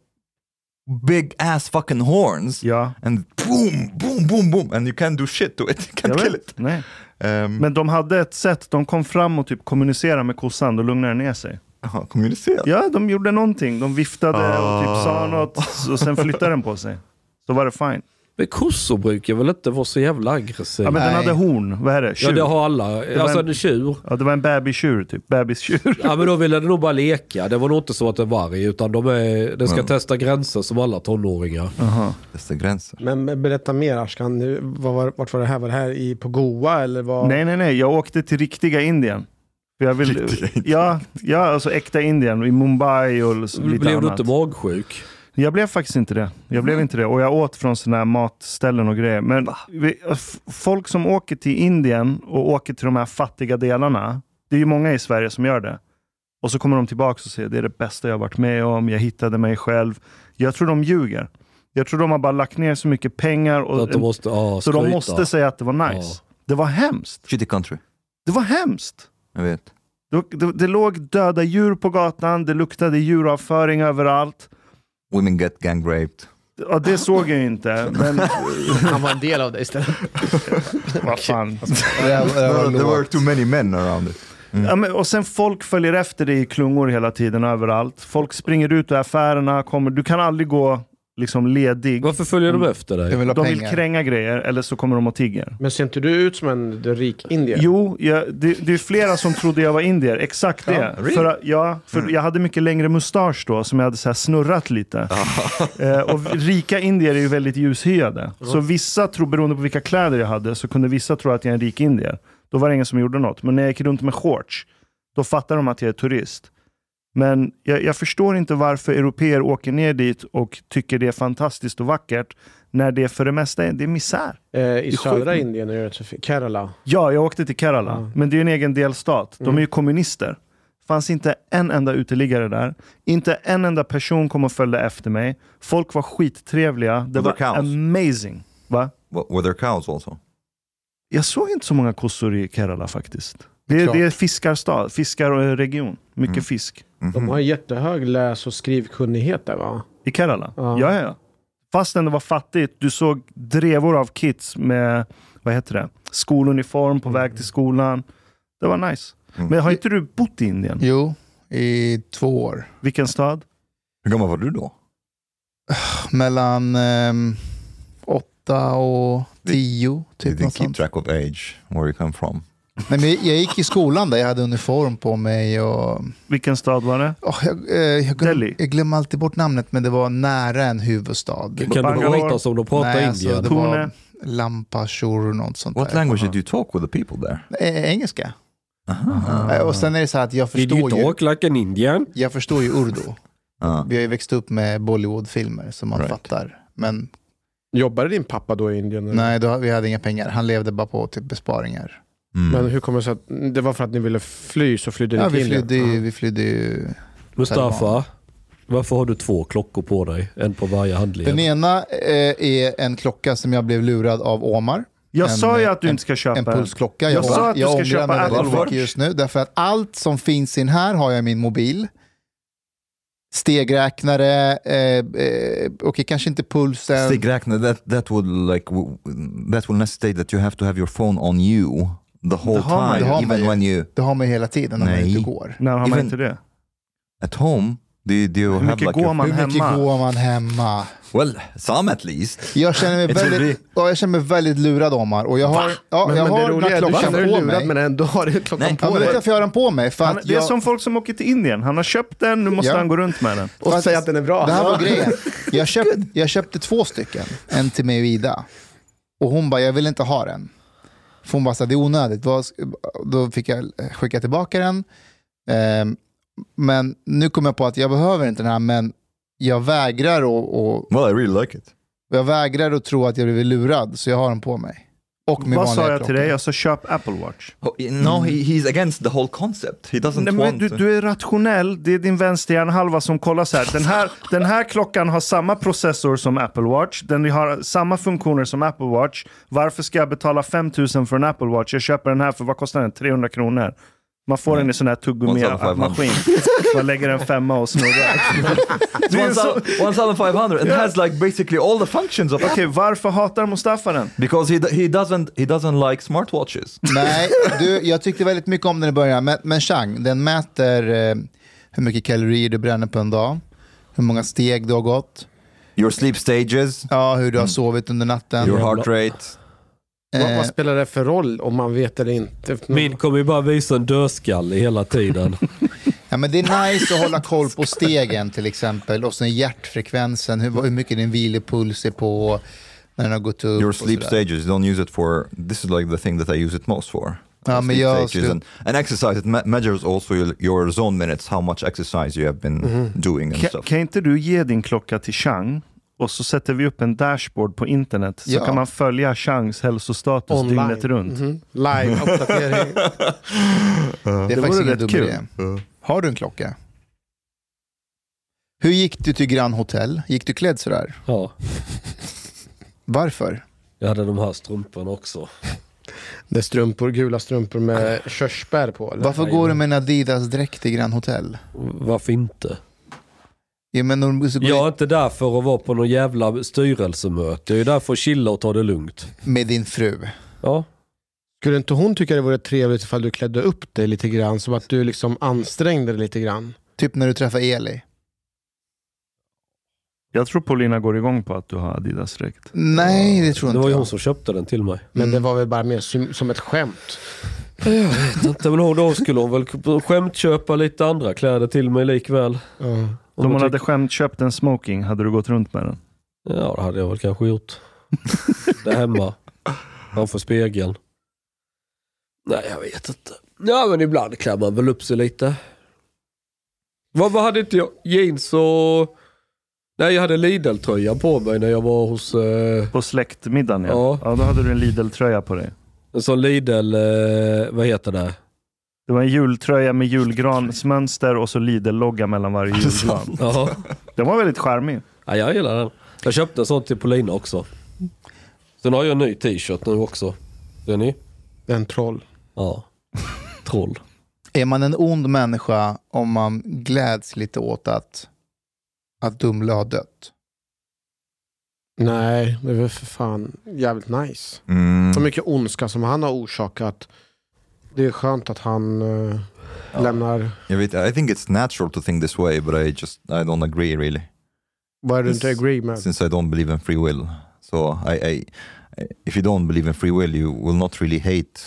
A: big ass fucking horns
C: Ja.
A: and boom boom boom boom and you can't do shit to it you
C: Jag
A: can't kill
C: vet.
A: it.
C: Nej.
A: Um,
C: Men de hade ett sätt, de kom fram och typ kommunicerade med kossan, då lugnade den ner sig.
A: aha, kommunicera.
C: Ja, de gjorde någonting. De viftade och typ sa något och sen flyttade den på sig. Så var det fine.
D: Men kossor brukar väl inte vara så jävla
C: Ja,
D: aggressiva?
C: men den
F: Nej.
C: hade horn, vad är det?
D: Ja,
C: Tjur?
D: det har alla. Alltså en tjur.
C: Ja, det var en babystjur typ, bebistjur.
D: Ja men då ville den nog bara leka. Det var nog inte så att det var varg utan de, är, de ska testa gränser som alla tonåringar.
A: Testa gränser.
E: Men, men berätta mer Ashkan, Nu, vad var, vart var det här? Var det här i, på Goa eller vad?
C: Nej, nej, nej. Jag åkte till riktiga Indien. För Jag vill,
A: Riktiga
C: ja, ja, alltså äkta Indien, i Mumbai och lite
D: Blev du
C: annat.
D: inte magsjuk?
C: Jag blev faktiskt inte det. Jag blev inte det. Och jag åt från sådana här matställen och grejer. Men vi, f- folk som åker till Indien och åker till de här fattiga delarna. Det är ju många i Sverige som gör det. Och så kommer de tillbaka och säger det är det bästa jag har varit med om. Jag hittade mig själv. Jag tror de ljuger. Jag tror de har bara lagt ner så mycket pengar. Och,
D: Så att de måste, ja,
C: så de
D: skryta.
C: måste säga att det var nice. Det var hemskt.
A: Shitty country.
C: Det var hemskt.
A: Jag vet.
C: Det, det, det låg döda djur på gatan, det luktade djuravföring överallt.
A: Women get gang raped.
C: Ja, det såg jag ju inte, men
G: Han var en del av det istället.
C: vad fan.
F: Det där- det där var
A: There were
F: lågt.
A: too many men around it.
C: Ja, men, och sen folk följer efter dig i klungor hela tiden överallt. Folk springer ut ur affärerna, kommer, du kan aldrig gå liksom ledig.
D: Varför följer de efter dig?
F: Jag vill ha
C: De vill
F: pengar.
C: kränga grejer, eller så kommer de och tigger.
E: Men ser inte du ut som en rik indier?
C: Jo, jag, det, det är flera som trodde jag var indier. Exakt det.
A: really?
C: för, ja, för Jag hade mycket längre mustasch då, som jag hade så här snurrat lite. eh, och rika indier är ju väldigt ljushyade. Så vissa, tror, beroende på vilka kläder jag hade, så kunde vissa tro att jag är en rik indier. Då var det ingen som gjorde något. Men när jag gick runt med shorts, då fattade de att jag är turist. Men jag, jag förstår inte varför europeer åker ner dit och tycker det är fantastiskt och vackert, när det för det mesta är, det är misär.
E: Eh, I
C: sjukt.
E: södra Indien är det rätt så fint. Kerala.
C: Ja, jag åkte till Kerala,
E: Ja.
C: men det är ju en egen delstat. De är ju kommunister. fanns inte en enda uteliggare där. Inte en enda person kom och följde efter mig. Folk var skittrevliga. Det
A: Och
C: var
A: det kaos.
C: amazing. Va?
A: Wa- Were there cows also?
C: Jag såg inte så många kossor i Kerala faktiskt. Det är,
F: Klart. Mm.
C: det är fiskarstad, fiskarregion. Mycket fisk.
E: De
F: Mhm.
E: har jättehög läs och skrivkunnighet där va?
C: I Kerala?
E: Ja.
C: Ja, ja, ja. Fastän det var fattigt, du såg drevor av kids med vad heter det? skoluniform på
F: Mm.
C: väg till skolan. Det var nice. Men har inte du bott i Indien?
F: Jo, i två år.
C: Vilken stad?
A: Hur gammal var du då?
F: Mellan ehm, åtta och tio.
A: Did
F: Typ
A: they
F: något
A: keep
F: sånt.
A: track of age, where you come from?
F: Nej, men jag gick i skolan där jag hade uniform på mig. Och,
C: Vilken stad var det?
F: Åh, jag, eh, jag, glöm-
C: Delhi.
F: jag glömmer alltid bort namnet, men det var nära en huvudstad.
D: Kan du
C: Bangalore.
D: berätta som de pratar indier?
F: alltså, det
C: Pune.
F: var Lampashore och något sånt
A: What
F: där.
A: language did you talk with the people there?
F: Eh, engelska. Eh, Och sen är det så här att jag
D: Did you
F: förstår ju,
D: talk like an Indian?
F: jag förstår ju urdu.
A: Ah.
F: Vi har ju växt upp med Bollywood-filmer som man
A: Right.
F: fattar. Men
E: Jobbade din pappa då i Indien? eller?
F: nej, då, vi hade inga pengar. Han levde bara på typ besparingar.
A: Mm.
E: Men hur kommer det sig att det var för att ni ville fly så flydde ni
F: Ja,
E: till
F: vi,
E: Indien? Ah.
F: flydde ju, vi flydde ju.
D: Mustafa,
F: Taliban.
D: varför har du två klockor på dig? En på varje handled.
F: Den ena eh, är en klocka som jag blev lurad av Omar.
C: Jag
F: En-
C: sa ju att du
F: en-
C: inte ska köpa
F: En pulsklocka.
C: Jag sa att du ska
F: ångrar
C: köpa
F: mig väldigt
C: Apple
F: mycket
C: Watch.
F: just nu. Därför att allt som finns in här har jag i min mobil. Stegräknare, eh, eh, okej kanske inte pulsen.
A: Stig Räkne, that, that would like w- that will necessitate that you have to have your phone on you the whole
C: Det har man ju.
A: time,
F: Det har man
A: even
F: ju.
A: when you
F: det har man ju hela tiden när man
A: Nej.
F: är ute och går.
C: När har man
A: Even-
C: inte det?
A: at home. Do you, do you
C: Hur
A: have
C: mycket
A: like
C: går
A: your,
C: man
F: Hur mycket
C: hemma?
F: går man hemma?
A: Well, some at least.
F: Jag känner mig
A: Jag tror
F: väldigt, ja, jag känner mig väldigt lurad Omar. Och jag har, ja,
E: Men,
F: jag
E: men
F: har
E: det
F: den
E: roliga
F: här
E: är att du
F: klockan
E: känner dig
F: på
E: lurad men
F: mig.
E: ändå har du klockan
A: Nej.
E: på
F: Ja, men vet du
E: dig.
F: varför jag har den på mig? För
C: Han,
F: att
C: det är
F: jag,
C: som folk som åker till Indien. Han har köpt den, nu måste
F: Ja.
C: han gå runt med den.
E: Och
F: Fast-
E: säga att den är bra.
F: Det här var grejen. Jag, köpt, jag köpte två stycken. En till mig och Ida. Och hon bara, jag vill inte ha den. För hon bara, så här, det är onödigt. Vad ska- Då fick jag skicka tillbaka den. Ehm, Men nu kom jag på att jag behöver inte den här, men jag vägrar och, och
A: Well, I really like it.
F: jag vägrar att tro att jag blivit lurad, så jag har den på mig. Och min
C: Vad
F: vanliga
C: sa jag till
F: klocka.
C: dig? Jag sa köp Apple Watch.
A: Oh, no, he, he's against the whole concept. He doesn't
C: Nej, men
A: want
C: du,
A: to-
C: du är rationell, det är din vänsterhjärnhalva som kollar så här. Den, här. den här klockan har samma processor som Apple Watch, den har samma funktioner som Apple Watch. Varför ska jag betala 5000 för en Apple Watch? Jag köper den här för vad kostar den? 300 kronor. Man får den i sån här tuggummi-maskin. Man lägger en femma och snurrar.
A: It's 1,500 and has like basically all the functions of
C: Okej, varför hatar Mustafa den?
A: because he, he doesn't he doesn't like smartwatches.
F: Nej, du, jag tyckte väldigt mycket om den i början. Men, men Chang, den mäter eh, hur mycket kalorier du bränner på en dag, hur många steg du har gått,
A: Your sleep stages, Mm.
F: ja, hur du har sovit under natten.
A: your heart rate.
E: Vad,
F: Eh,
E: vad spelar det för roll om man vet eller inte?
D: Min kommer ju bara visa en dödskalle hela tiden.
F: ja, men det är nice att hålla koll på stegen till exempel och sen hjärtfrekvensen, hur, hur mycket din vilopuls är på när den har gått upp.
A: Your
F: och
A: sleep
F: sådär.
A: stages, don't use it for. This is like the thing that I use it most for.
F: Ja,
A: Uh,
F: men
A: sleep
F: jag
A: stages
F: slu-
A: and, and exercise. It me- measures also your, your zone minutes, how much exercise you have been doing and
C: Kan,
A: stuff.
C: kan inte du ge din klocka till Chang? Och så sätter vi upp en dashboard på internet. Så
F: Ja.
C: kan man följa Changs hälsostatus
E: Online.
C: dygnet runt.
E: Mhm. Live, uppdatering.
F: Det är
C: Det
F: faktiskt
C: vore
F: ingen dum
C: rätt kul.
F: idé. Har du en klocka? Hur gick du till Grand Hotel? Gick du klädd sådär?
D: Ja.
F: Varför?
D: Jag hade de här strumporna också.
E: Det är strumpor, gula strumpor med körsbär på. Eller?
F: Varför går du med en Adidas-dräkt till Grand Hotel?
D: Varför inte?
F: Ja, men de, så går
D: Jag är inte där för att vara på någon jävla styrelsemöte. Jag är där för att chilla och ta det lugnt.
F: Med din fru.
D: Ja.
E: Skulle inte hon tycka det vore trevligt ifall du klädde upp dig lite grann? Som att du liksom ansträngde dig lite grann.
F: Typ när du träffar Eli.
C: Jag tror Paulina går igång på att du har Adidas-dräkt.
F: Nej, det tror
D: Det
F: inte
D: var ju
F: jag.
D: hon som Mm. köpte den till mig.
E: Men det var väl bara mer sym- som ett skämt.
D: Inte, men hon- då skulle hon väl skämtköpa lite andra kläder till mig likväl.
E: Ja.
D: Om
C: Om hon
D: hon
C: hade skämt köpt en smoking, hade du gått runt med den?
D: Ja, det hade jag väl kanske gjort. Där hemma. Framför spegeln. Nej, jag vet inte. Ja, men ibland klär man väl upp sig lite. Vad, vad hade inte jag? Jeans och... Nej, jag hade Lidl-tröjan på mig när jag var hos... Eh,
C: På släktmiddagen ja.
D: Ja.
C: ja. då hade du en Lidl-tröja på dig.
D: en sån Lidl... Eh, vad heter det?
C: Det var en jultröja med julgransmönster och så Lidl-logga mellan varje julgran.
D: Ja.
C: Den var väldigt charmig.
D: ja, jag gillar den. Jag köpte en sån till Polina också. Sen har jag en ny t-shirt nu också. Ser ni?
E: En troll.
D: Ja. Troll.
F: Är man en ond människa om man gläds lite åt att, att Dumle har dött?
E: Nej, det är väl för fan jävligt nice.
A: Mm.
E: Så mycket ondska som han har orsakat. Det är skönt att han eh, lämnar...
A: Jag vet, I think it's natural to think this way, but I just I don't agree really.
E: Vad är det du inte agree med?
A: Since I don't believe in free will. So I, I, I if you don't believe in free will, you will not really hate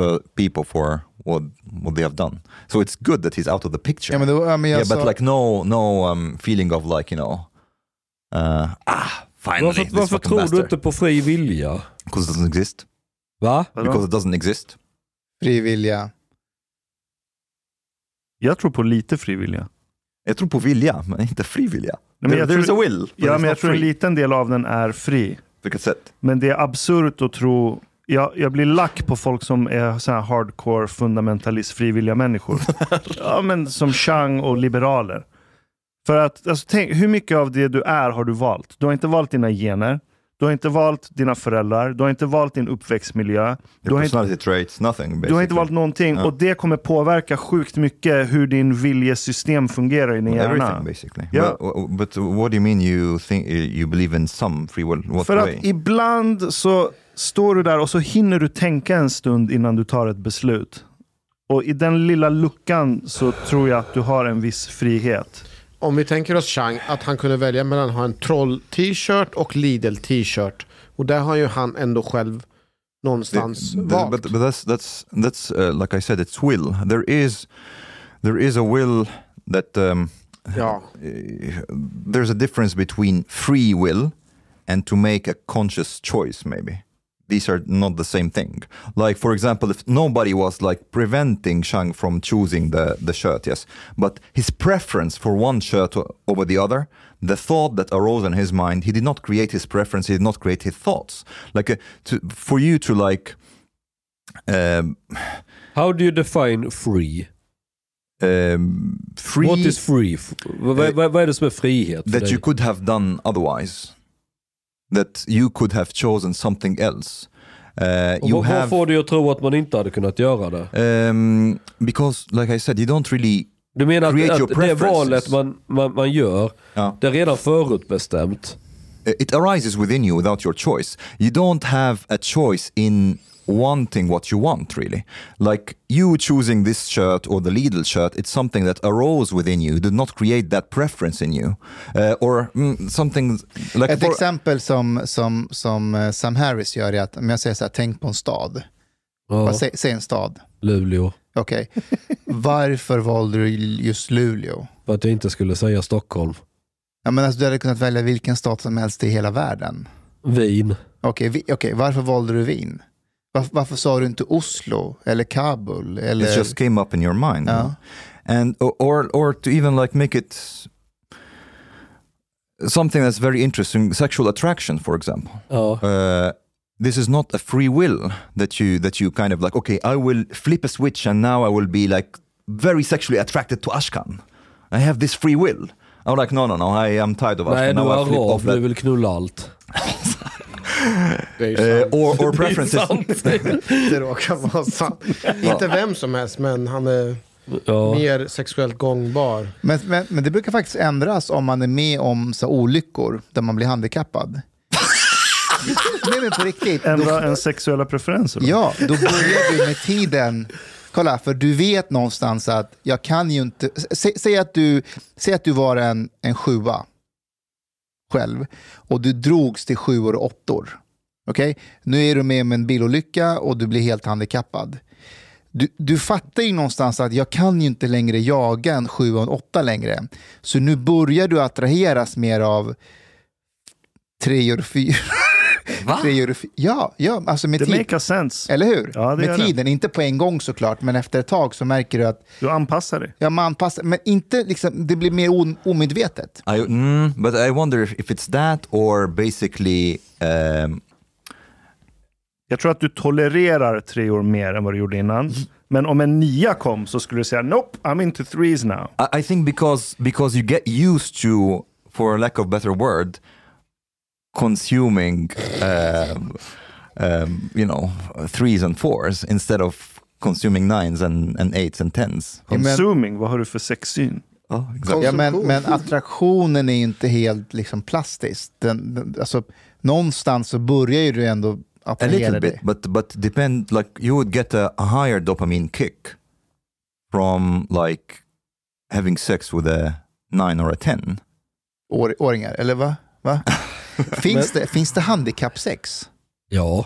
A: uh, people for what what they have done. So it's good that he's out of the picture.
F: Ja, men det var, ja, men jag
A: yeah,
F: sa,
A: but like no no um, feeling of like you know uh, ah finally
D: Varför,
A: this
D: varför
A: fucking
D: tror du
A: bastard.
D: inte på fri vilja?
A: Because it doesn't exist.
D: Va?
A: Because it doesn't exist.
F: frivilliga.
C: Jag tror på lite frivilliga.
A: Jag tror på vilja, men inte fri vilja.
C: Nej, men jag
A: There- There's
C: tror-
A: a will, but
C: Ja,
A: it's
C: men jag
A: not
C: tror en
A: free.
C: liten del av den är fri.
A: Vilket sätt?
C: Men det är absurt att tro... Jag, jag blir lack på folk som är så här hardcore fundamentalist frivilliga människor. ja, men som Chang och liberaler. För att, alltså, tänk, hur mycket av det du är har du valt? Du har inte valt dina gener. Du har inte valt dina föräldrar. Du har inte valt din uppväxtmiljö. Du
A: Your
C: har inte
A: personality traits, nothing basically.
C: Du har inte valt någonting
A: Ja.
C: och det kommer påverka sjukt mycket hur din viljesystem fungerar i din hjärna.
A: Everything basically.
C: Ja.
A: But, uh, but what do you mean you think uh, you believe in some free will? What
C: För att
A: way?
C: ibland så står du där och så hinner du tänka en stund innan du tar ett beslut. Och i den lilla luckan så tror jag att du har en viss frihet.
E: Om vi tänker oss Chang, att han kunde välja mellan att ha en troll-t-shirt och Lidl-t-shirt. Och där har ju han ändå själv någonstans
A: The- the-
E: valt.
A: But, but that's that's that's uh, like I said, it's will. There is there is a will that um,
E: ja.
A: there's a difference between free will and to make a conscious choice. Maybe these are not the same thing. Like for example, if nobody was like preventing Shang from choosing the the shirt, yes, but his preference for one shirt o- over the other, the thought that arose in his mind, he did not create his preference. He did not create his thoughts. Like uh, to, for you to like. Um,
D: How do you define free?
A: um, free Eh,
D: What is free? F- Vad, vad, vad är det som är frihet för
A: that
D: dig?
A: you could have done otherwise. That you could have chosen something else. Uh,
D: Och
A: you
D: vad,
A: have
D: vad får dig att tro att man inte hade kunnat göra det?
A: um, because, like I said, you don't really.
D: Du menar
A: Create
D: att,
A: your
D: att det
A: preferences.
D: valet man, man, man gör,
A: Ja.
D: det är redan förutbestämt.
A: It arises within you without your choice. You don't have a choice in wanting what you want, really. Like you choosing this shirt or the Lidl shirt, it's something that arose within you. You did not create that preference in you, uh, or mm, something like.
F: Ett
A: for-
F: exempel som, som, som eh, Sam Harris gör är att om jag säger så här, tänk på en stad.
D: Ja,
F: Bara, säg, säg en stad.
D: Luleå.
F: Okej. Varför valde du just Luleå?
D: För att jag inte skulle säga Stockholm.
F: Ja, men alltså, du hade kunnat välja vilken stad som helst i hela världen.
D: Wien.
F: Okej, vi, okej, varför valde du Wien? Varför, varför sa du inte Oslo eller Kabul? Eller...
A: It just came up in your mind,
F: Ja.
A: no? and or- or or to even like make it something that's very interesting. Sexual attraction, for example.
D: Ja.
A: Uh, this is not a free will that you that you kind of like. Okay, I will flip a switch, and now I will be like very sexually attracted to Ashkan. I have this free will. I'm like, no, no, no. I am tired of Ashkan.
D: Nej, du
A: now I
D: är
A: flip off
D: arab, du
A: that.
D: vill knulla allt.
E: Det är ju
A: Eh,
E: sant.
A: or, or preferences.
E: Det råkar vara sant. Inte vem som helst, men han är
D: Ja.
E: mer sexuellt gångbar.
F: Men, men, men det brukar faktiskt ändras om man är med om så här, olyckor där man blir handikappad. Nej men på riktigt. Då,
C: Ändra en sexuella preferenser. då.
F: ja, då börjar du med tiden. Kolla, för du vet någonstans att jag kan ju inte... Sä, säg, att du, säg att du var en, en sjua själv och du drogs till sjuor och åttor. Okej? Nu är du med om en bilolycka och du blir helt handikappad. Du, du fattar ju någonstans att jag kan ju inte längre jaga en 7 och en 8 längre. Så nu börjar du attraheras mer av treor och fyror.
H: Va?
F: Treor och fy- ja, ja, alltså med
C: Det
F: tid.
C: makes sense.
F: Eller hur?
C: Ja, det gör
F: med
C: det.
F: tiden, inte på en gång såklart, men efter ett tag så märker du att
C: Du anpassar dig.
F: ja, man passar, men inte liksom, det blir mer on, omedvetet.
A: I, mm, but I wonder if it's that or basically um,
C: Jag tror att du tolererar treor mer än vad du gjorde
F: Mm.
C: innan. Men om en nia kom så skulle du säga nope, I'm into threes now.
A: I, I think because because you get used to, for lack of better word, consuming, um, um, you know, threes and fours instead of consuming nines and, and eights and tens.
F: Ja, men-
C: Consuming, vad har du för sexsyn?
A: Oh, exactly.
F: Ja, men, men attraktionen är ju inte helt liksom plastisk. Den, den, alltså, någonstans så börjar ju du ändå
A: A little
F: attrahera
A: bit,
F: dig.
A: but but depend like you would get a, a higher dopamine kick from like having sex with a nine or a ten.
F: År, åringar, eller va? va? finns, det, finns det handikappsex?
D: ja.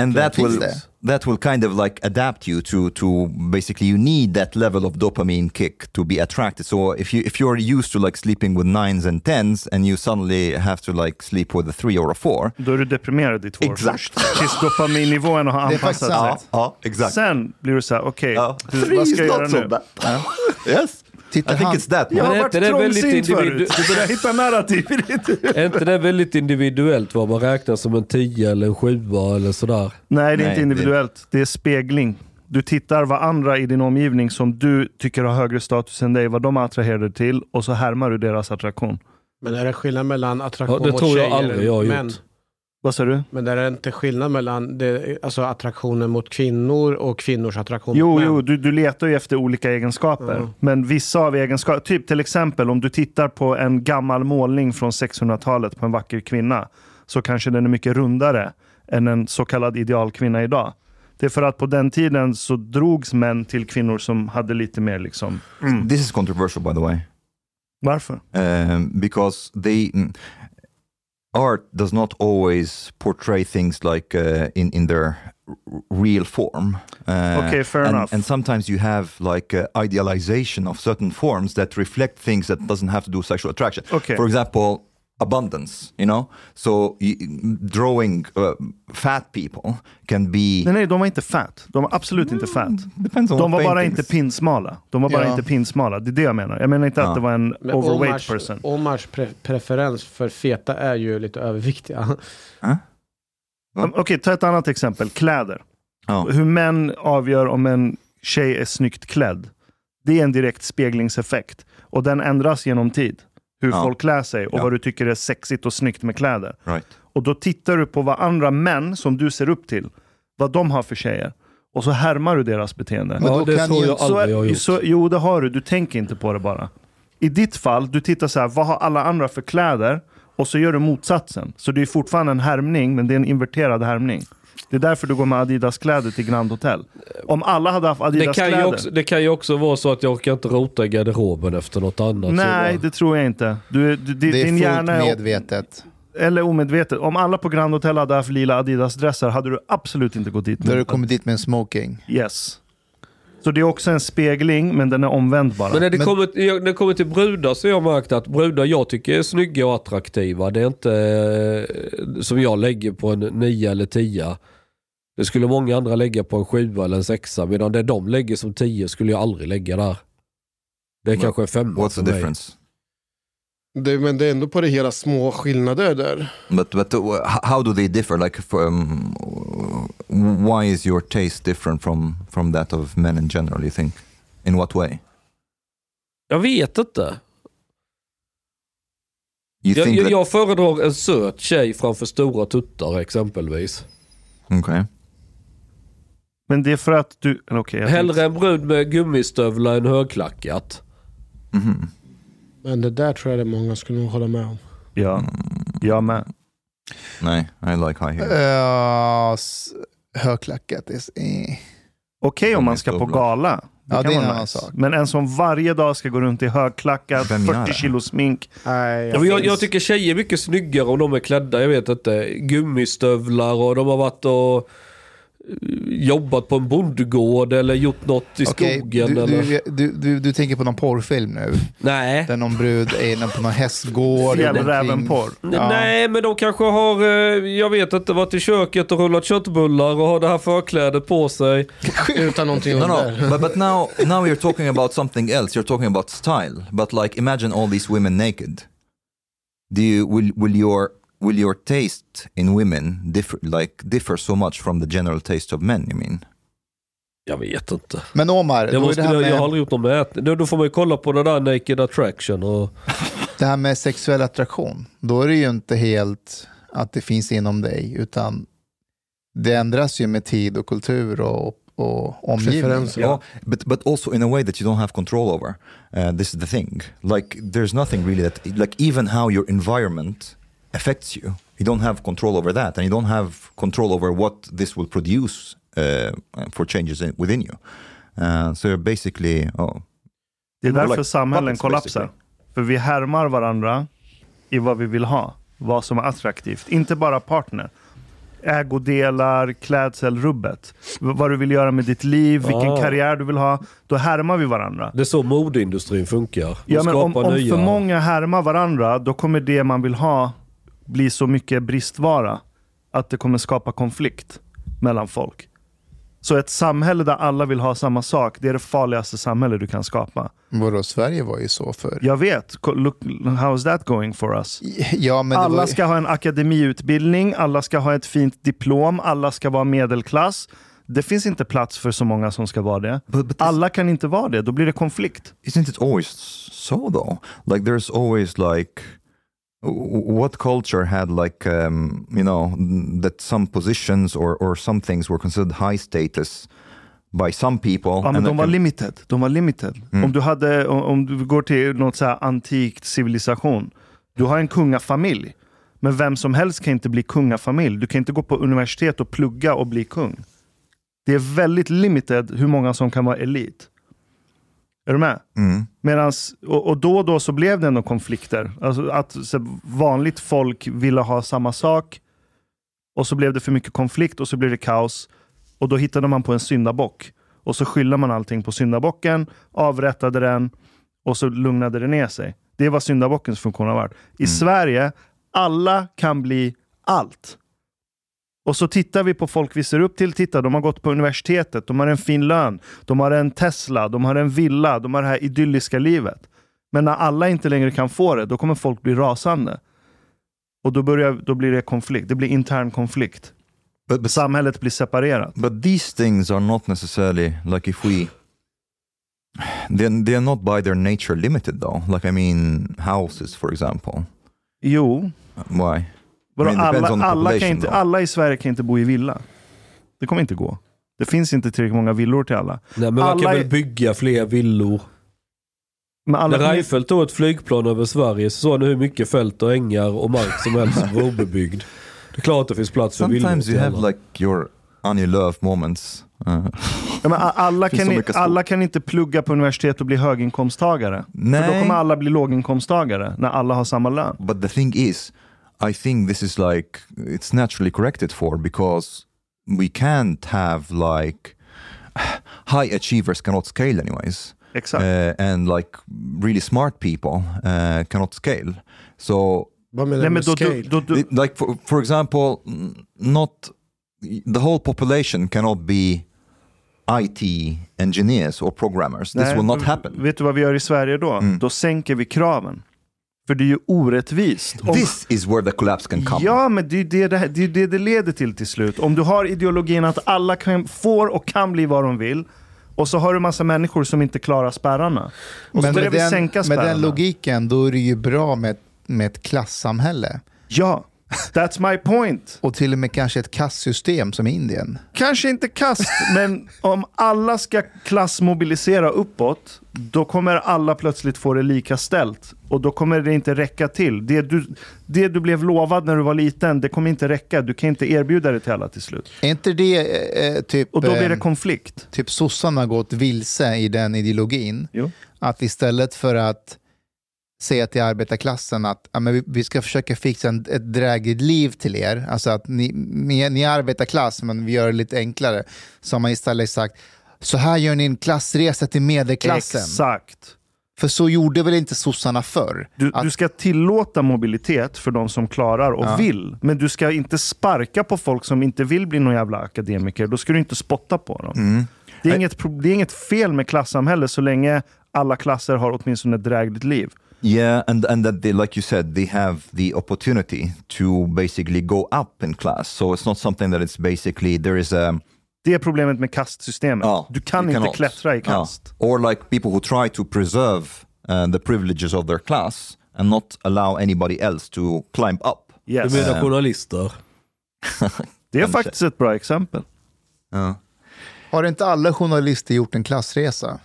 A: and that
F: Finns
A: will
F: det?
A: that will kind of like adapt you to to basically you need that level of dopamine kick to be attracted so if you if you're used to like sleeping with nines and tens and you suddenly have to like sleep with a three or a four
C: Då är du deprimerad i två år
A: Exakt.
C: först. Tills dopaminnivåerna har
F: Det är faktiskt
C: anpassat sig.
F: sant.
A: oh exactly
C: Sen blir du så här, okej,
A: oh,
C: vad ska jag göra nu?
A: bad yes
F: Titta,
A: i think
F: han-
A: it's that
C: Jag
A: man.
C: har
D: Men
C: varit
D: det är väldigt
C: trångsynt förut.
D: individu-
C: Du börjar hitta narrativ i ditt
D: Är inte det väldigt individuellt vad man räknar som en 10 eller en 7 eller sådär?
C: Nej, det är
A: Nej,
C: inte individuellt. Det är spegling. Du tittar vad andra i din omgivning som du tycker har högre status än dig, vad de är attraherade till och så härmar du deras attraktion.
G: Men är det skillnad mellan attraktion
D: Ja, det
G: mot
D: tror jag
G: tjejer
D: aldrig jag har
G: och
D: gjort.
G: män?
C: Vad sa du?
G: Men är det inte skillnad mellan det, alltså attraktionen mot kvinnor och kvinnors attraktion mot
C: Jo,
G: män?
C: jo du, du letar ju efter olika egenskaper.
G: Ja.
C: Men vissa av egenskaperna, typ till exempel om du tittar på en gammal målning från 1600-talet på en vacker kvinna, så kanske den är mycket rundare än en så kallad idealkvinna idag. Det är för att på den tiden så drogs män till kvinnor som hade lite mer liksom...
A: this is controversial by the way
C: Varför?
A: um, because they mm, art does not always portray things like uh, in in their r- real form. Uh,
C: Okay, fair
A: and,
C: enough.
A: And sometimes you have like uh, idealization of certain forms that reflect things that doesn't have to do with sexual attraction.
C: Okay.
A: For example, abundance. You know, so y- drawing uh, fat people can be Mm,
C: Nej, nej, de var inte fat. De var absolut inte fat.
A: depends on
C: De
A: what
C: var bara
A: paintings.
C: inte pinsmala. De var bara
F: Ja.
C: inte pinsmala. Det är det jag menar. Jag menar inte
A: Ja.
C: att det var en
G: Men
C: overweight
G: Omars,
C: person.
G: Omars pre preferens för feta är ju lite överviktiga.
A: Ja.
C: Um, Okej, ta ett annat exempel. Kläder.
A: Ja.
C: Hur män avgör om en tjej är snyggt klädd. Det är en direkt speglingseffekt. Och den ändras genom tid. Hur
A: Ja.
C: folk klär sig och
A: Ja.
C: vad du tycker är sexigt och snyggt med kläder.
A: right.
C: Och då tittar du på vad andra män som du ser upp till, vad de har för tjejer. Och så härmar du deras beteende.
F: Men
D: Ja,
F: då
D: det
F: kan
D: tror
F: ju-
D: jag aldrig jag har gjort.
C: Så, jo, det har du. Du tänker inte på det bara. I ditt fall, du tittar så här, vad har alla andra för kläder? Och så gör du motsatsen. Så det är fortfarande en härmning, men det är en inverterad härmning. Det är därför du går med Adidas-kläder till Grand Hotel. Om alla hade haft
D: Det kan, ju
C: Adidas-kläder...
D: också, det kan ju också vara så att jag orkar inte rota i garderoben efter något annat. Så
C: Nej,
D: jag bara-
C: det tror jag inte. Du, är- du, di-
F: Det är
C: din
F: fullt
C: hjärna är,
F: medvetet.
C: eller omedvetet. Om alla på Grand Hotel hade haft lila Adidas-dressar hade du absolut inte gått dit.
F: Då har du
C: med-
F: kommit dit med en smoking.
C: Yes. Så det är också en spegling, men den är omvänd bara.
D: Men när det,
F: Men-
D: kommer, jag- när det kommer till brudar så har jag märkt att brudar jag tycker är snygga och attraktiva, det är inte eh, som jag lägger på en 9 eller 10. Det skulle många andra lägga på en 7 eller en 6 medan det de lägger som 10 skulle jag aldrig lägga där. Det är
A: Men
D: kanske en 5
A: What's the difference?
E: Det, men det är ändå på det hela små skillnader där.
A: But but uh, h- how do they differ? Like from why is your taste different from from that of men in general? You think in what way?
D: Jag vet inte.
A: You
D: Jag,
A: think
D: jag,
A: that...
D: jag föredrar en söt tjej framför stora tuttar exempelvis.
A: Okay.
C: Men det är för att du... eller Okej, jag tänkte-
D: Hellre en brud med gummistövlar än högklackat.
A: Mhm.
G: Men det där tror jag det är många skulle nog hålla med om.
F: Mm.
C: ja, jag med.
A: Nej, I like high heels.
F: Eh, s- högklackat. Is, eh.
C: Okej
A: De
C: om
A: är
C: man ska på
A: stövlar.
C: gala.
F: Ja, det är en
C: vara
F: annan sak.
C: Men en som varje dag ska gå runt i högklackat,
A: Vem gör
C: 40
A: det?
C: kilo smink.
G: Nej,
D: Ja, men jag, jag tycker tjejer är mycket snyggare om de är klädda, jag vet inte, gummistövlar och de har varit och eh, jobbat på en bondgård eller gjort något i
F: Okej,
D: skogen.
F: du,
D: eller...
F: du, du, du, du tänker på någon porrfilm nu?
D: Nej.
F: Där någon brud är inne på någon hästgård.
C: Fjällrävenporr.
F: Ja.
D: Nej, men de kanske har, eh, jag vet inte, varit i köket och rullat köttbullar och har det här förklädet på sig.
G: Utan någonting
A: No,
G: under.
A: no, but, but now, now you're talking about something else. You're talking about style. But like, imagine all these women naked. Do you will will your will your taste in women differ like differ so much from the general taste of men? You mean?
D: Jag vet inte.
F: Men Omar,
D: Jag,
F: då är
D: måste,
F: det, här
D: jag, jag har
F: med,
D: aldrig gjort någon mätning. Då, då får man ju kolla på det där Naked Attraction. Och,
F: det här med sexuell attraktion. Då är det ju inte helt att det finns inom dig, utan det ändras ju med tid och kultur och, och omgivning.
G: Preferenser.
A: Yeah. But but also in a way that you don't have control over. Uh, this is the thing. Like there's nothing really that like even how your environment affects you. You don't have control over that, and you don't have control over what this will produce uh, for changes in, within you. Uh, so you're basically oh
C: Det är
A: More
C: därför
A: like
C: samhällen
A: puppets,
C: kollapsar.
A: basically.
C: För vi härmar varandra i vad vi vill ha. Vad som är attraktivt. Inte bara partner. Ägodelar, klädsel, rubbet. V- Vad du vill göra med ditt liv, vilken
D: Ah.
C: karriär du vill ha. Då härmar vi varandra.
D: det är så modeindustrin funkar. De
C: Ja, men om,
D: skapar
C: om
D: nya-
C: för många härmar varandra, då kommer det man vill ha bli så mycket bristvara att det kommer skapa konflikt mellan folk. Så ett samhälle där alla vill ha samma sak, det är det farligaste samhälle du kan skapa.
F: Vadå, Sverige var ju så förr.
C: Jag vet, ko- look, how's that going for us?
F: Ja, men det var
C: Alla
F: ju-
C: ska ha en akademiutbildning, alla ska ha ett fint diplom, alla ska vara medelklass. Det finns inte plats för så många som ska vara det.
A: But- but this-
C: Alla kan inte vara det, då blir det konflikt.
A: isn't it always so though? Like there's always like w- what culture had like um, you know that some positions or or some things were considered high status by some people.
C: Ja, men Mm.
A: and
C: de
A: that
C: var
A: can-
C: limited. De var limited. Om, du hade, om, om du går till något så här antikt civilisation, du har en kungafamilj. Men vem som helst kan inte bli kungafamilj. Du kan inte gå på universitet och plugga och bli kung. Det är väldigt limited hur många som kan vara elit. Är du med?
A: Mm.
C: Medans, och, och då och då så blev det ändå konflikter. Alltså att så, vanligt folk ville ha samma sak och så blev det för mycket konflikt och så blev det kaos. Och då hittade man på en syndabock. Och så skyllde man allting på syndabocken, avrättade den och så lugnade det ner sig. Det var syndabockens funktion har varit. I Sverige, alla kan bli allt. Och så tittar vi på folk vi ser upp till. Titta, de har gått på universitetet, de har en fin lön, de har en Tesla, de har en villa, de har det här idylliska livet. Men när alla inte längre kan få det, då kommer folk bli rasande. Och då, börjar, då blir det konflikt. Det blir intern konflikt.
A: But, but,
C: Samhället blir separerat.
A: but these things are not necessarily like if we they they are not by their nature limited though. Like I mean houses for example.
C: Jo,
A: Why?
C: vadå,
A: I mean, it depends
C: alla,
A: on the
C: alla, kan
A: population
C: inte,
A: då.
C: alla i Sverige kan inte bo i villa. Det kommer inte gå. Det finns inte tillräckligt många villor till alla.
D: Nej, men man
C: alla
D: kan
C: är-
D: väl bygga fler villor.
C: Men alla
D: När
C: kommer-
D: Reinfeldt tog ett flygplan över Sverige så såg han hur mycket fält och ängar och mark som helst som var obebyggd. Det är klart att det finns plats för villor.
A: Sometimes
D: till
A: you have
D: alla.
A: like your Annie Love moments. Uh,
C: Ja, men a- alla,
A: Finns
C: kan,
A: så
C: i-
A: mycket skog.
C: alla kan inte plugga på universitet och bli höginkomsttagare. För då
A: Nej.
C: kommer alla bli låginkomsttagare när alla har samma lön.
A: But the thing is, I think this is like it's naturally corrected for because we can't have like high achievers cannot scale anyways,
C: Exakt.
A: uh, and like really smart people uh, cannot scale. So
G: Vad menar
C: Nej,
G: du
C: men
G: med
C: då,
G: scale?
C: då, då, då,
A: it- like for, for example, n- not the whole population cannot be IT engineers or programmers. This
C: Nej,
A: will not
C: v-
A: happen.
C: Vet du vad vi gör i Sverige då?
A: Mm.
C: Då sänker vi kraven. För det är ju orättvist. Om-
A: This is where the collapse can come.
C: Ja, men det är ju det det, här- det, är ju det det leder till till slut. Om du har ideologin att alla kan, får och kan bli vad de vill, och så har du massa människor som inte klarar spärrarna. Och så
F: Men
C: börjar
F: med
C: vi sänka
F: den, med
C: spärrarna.
F: den logiken, då är det ju bra med ett med ett klassamhälle.
C: Ja, that's my point.
F: Och till och med kanske ett kastsystem som i Indien.
C: Kanske inte kast, men om alla ska klassmobilisera uppåt, då kommer alla plötsligt få det lika ställt. Och då kommer det inte räcka till. Det du, det du blev lovad när du var liten, det kommer inte räcka. Du kan inte erbjuda det till alla till slut.
F: Är inte det eh, eh, typ,
C: Och då blir det
F: eh,
C: konflikt.
F: typ sossarna har gått vilse i den ideologin?
C: Jo.
F: Att istället för att säga till arbetarklassen att ja, men vi, vi ska försöka fixa en, ett drägligt liv till er, alltså att ni, ni, ni är arbetarklass men vi gör det lite enklare, så har man istället sagt så här gör ni en klassresa till medelklassen.
C: Exakt.
F: För så gjorde väl inte sossarna förr?
C: Du,
F: Att-
C: du ska tillåta mobilitet för de som klarar och vill. Men du ska inte sparka på folk som inte vill bli någon jävla akademiker. Då ska du inte spotta på dem. Det, är inget, pro- det är inget fel med klassamhälle så länge alla klasser har åtminstone ett drägligt liv.
A: Yeah, and and that they, like you said, they have the opportunity to basically go up in class. So it's not something that it's basically there is a
C: Det är problemet med kastsystemet.
A: Ja,
C: du kan
A: you
C: inte
A: cannot.
C: klättra i
A: Ja.
C: kast.
A: Or like people who try to preserve uh, the privileges of their class and not allow anybody else to climb up.
C: Yes.
D: Du menar journalister?
C: Det är faktiskt ett bra exempel.
F: Har inte alla journalister gjort en klassresa?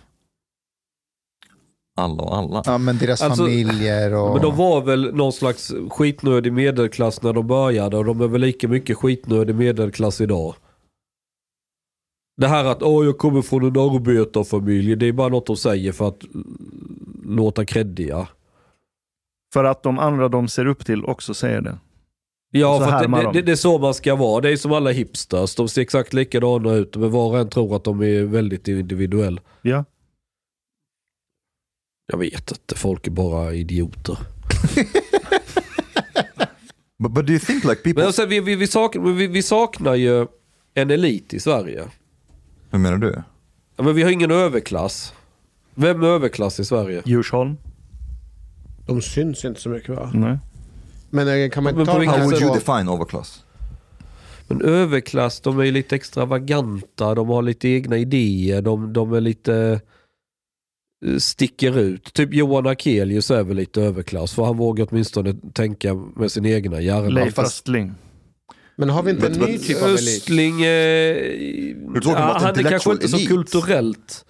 A: Alla och alla.
F: Ja, men deras
D: Alltså,
F: familjer och...
D: Men de var väl någon slags skitnödig medelklass när de började och de är väl lika mycket skitnödig medelklass idag. Det här att åh jag kommer från en arbetarfamilj, det är bara något de säger för att mm, låta creddiga.
C: För att de andra de ser upp till också säger det.
D: Ja,
C: Så
D: för att
C: härmar
D: det,
C: de.
D: det, det är så man ska vara. Det är som alla hipsters, de ser exakt likadana ut men var och en tror att de är väldigt individuell.
C: Ja.
D: Jag vet inte, folk är bara idioter.
A: But, but do you think like people...
D: Men alltså, vi, vi, vi, saknar, vi, vi saknar ju en elit i Sverige.
A: Hur menar du?
D: Ja, men vi har ingen överklass. Vem är överklass i Sverige?
C: Djursholm?
G: De syns inte så mycket va?
C: Nej.
G: Men eh, kan man
D: Men
G: inte
D: på
G: ta dem
D: vilket
A: How
G: kanske
A: would you
G: på-
A: define overclass?
D: Men överklass, de är ju lite extravaganta, de har lite egna idéer, de, de är lite eh, sticker ut. Typ Johan Akelius är väl lite överklass för han vågar åtminstone tänka med sin egna hjärna.
C: Leif Östling.
G: Men har vi inte en
A: But-
G: ny
A: but-
G: typ av elit?
D: Östling, eh,
A: talking about
D: ja, han är kanske
A: intellectual
D: inte så
A: elite.
D: kulturellt.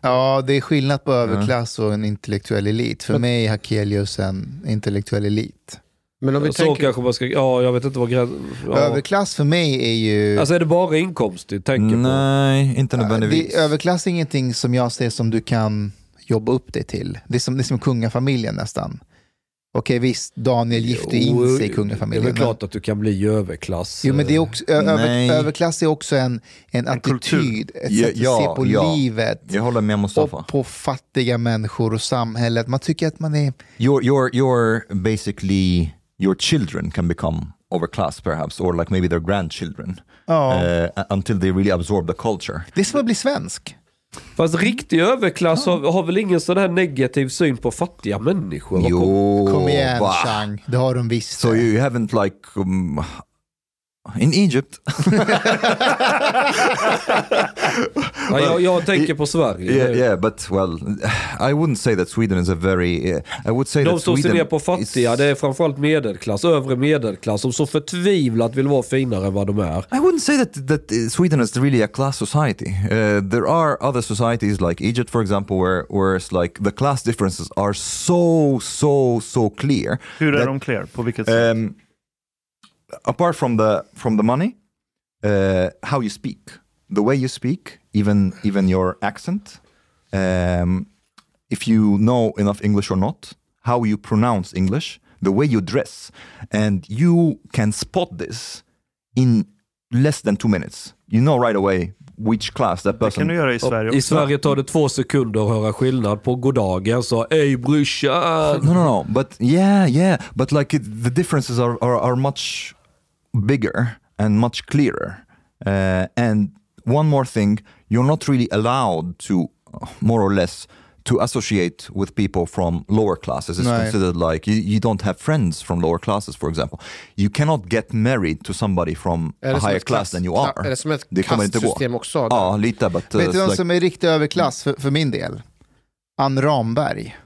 F: Ja, det är skillnad på överklass och en intellektuell elit. För
G: Men-
F: mig är Hakelius en intellektuell elit.
G: Men om vi
D: Så
G: tänker...
D: kanske man ska, ja jag vet inte vad gränsen... Ja.
F: Överklass för mig är ju...
D: Alltså är det bara inkomst du tänker på?
A: Nej, inte
F: det,
A: nödvändigtvis.
F: överklass är ingenting som jag ser som du kan jobba upp dig till. Det är som, det är som kungafamiljen nästan. Okej visst, Daniel gifte in sig i
D: Det är
F: kungafamiljen.
D: väl
F: men-
D: klart att du kan bli överklass.
F: Jo, men det är också, ö-
A: Nej.
F: över, överklass är också en, en,
C: kultur.
F: attityd, ett
A: Ja,
F: sätt att
A: ja,
F: se på
A: ja.
F: livet
A: Jag håller med Mustafa.
F: och på fattiga människor och samhället. Man tycker att man är...
A: your your your basically your children can become overclass perhaps or like maybe their grandchildren
F: Ja.
A: uh, until they really absorb the culture
F: Det är som att bli svensk.
D: Fast riktig överklass har, har väl ingen sån här negativ syn på fattiga människor? Vad kom-
A: jo
F: Kom igen,
A: va?
F: Chang. Det har de visst.
A: so you haven't like um, in Egypt
D: Ja, jag, jag tänker på Sverige.
A: yeah yeah but well I wouldn't say that Sweden is a very uh, I would say
D: De
A: that
D: som ser
A: Sweden
D: ner på fattiga,
A: is-
D: det är framförallt medelklass, övre medelklass, som så förtvivlat vill vara finare än vad de är.
A: I wouldn't say that that uh, Sweden is really a class society. Uh, there are other societies like Egypt, for example, where where it's like the class differences are so so so clear.
C: Hur är
A: that,
C: de clear? På vilket sätt?
A: Um, apart from the from the money, uh, how you speak, the way you speak, even even your accent, um, if you know enough English or not, how you pronounce English, the way you dress, and you can spot this in less than two minutes. You know right away which class that
C: Det kan
A: person.
C: du göra i Sverige också.
D: I Sverige tar det två sekunder att höra skillnad på goddagen, så ey brorsan.
A: No, no, no. But yeah, yeah. But like it, the differences are, are, are much bigger and much clearer. Uh, and one more thing, you're not really allowed to, uh, more or less, to associate with people from lower classes. It's
F: No.
A: considered like you, you don't have friends from lower classes, for example. You cannot get married to somebody from
G: Är
A: a
G: det som
A: higher
G: ett
A: class
G: klass-
A: than you
G: Ja,
A: are.
G: är det som ett
A: kommer inte gå.
G: kastsystem också?
A: Ja, lite. But, uh,
F: Vet du
A: it's
F: vem
A: like-
F: som är riktig överklass för, för min del? Ann Ramberg.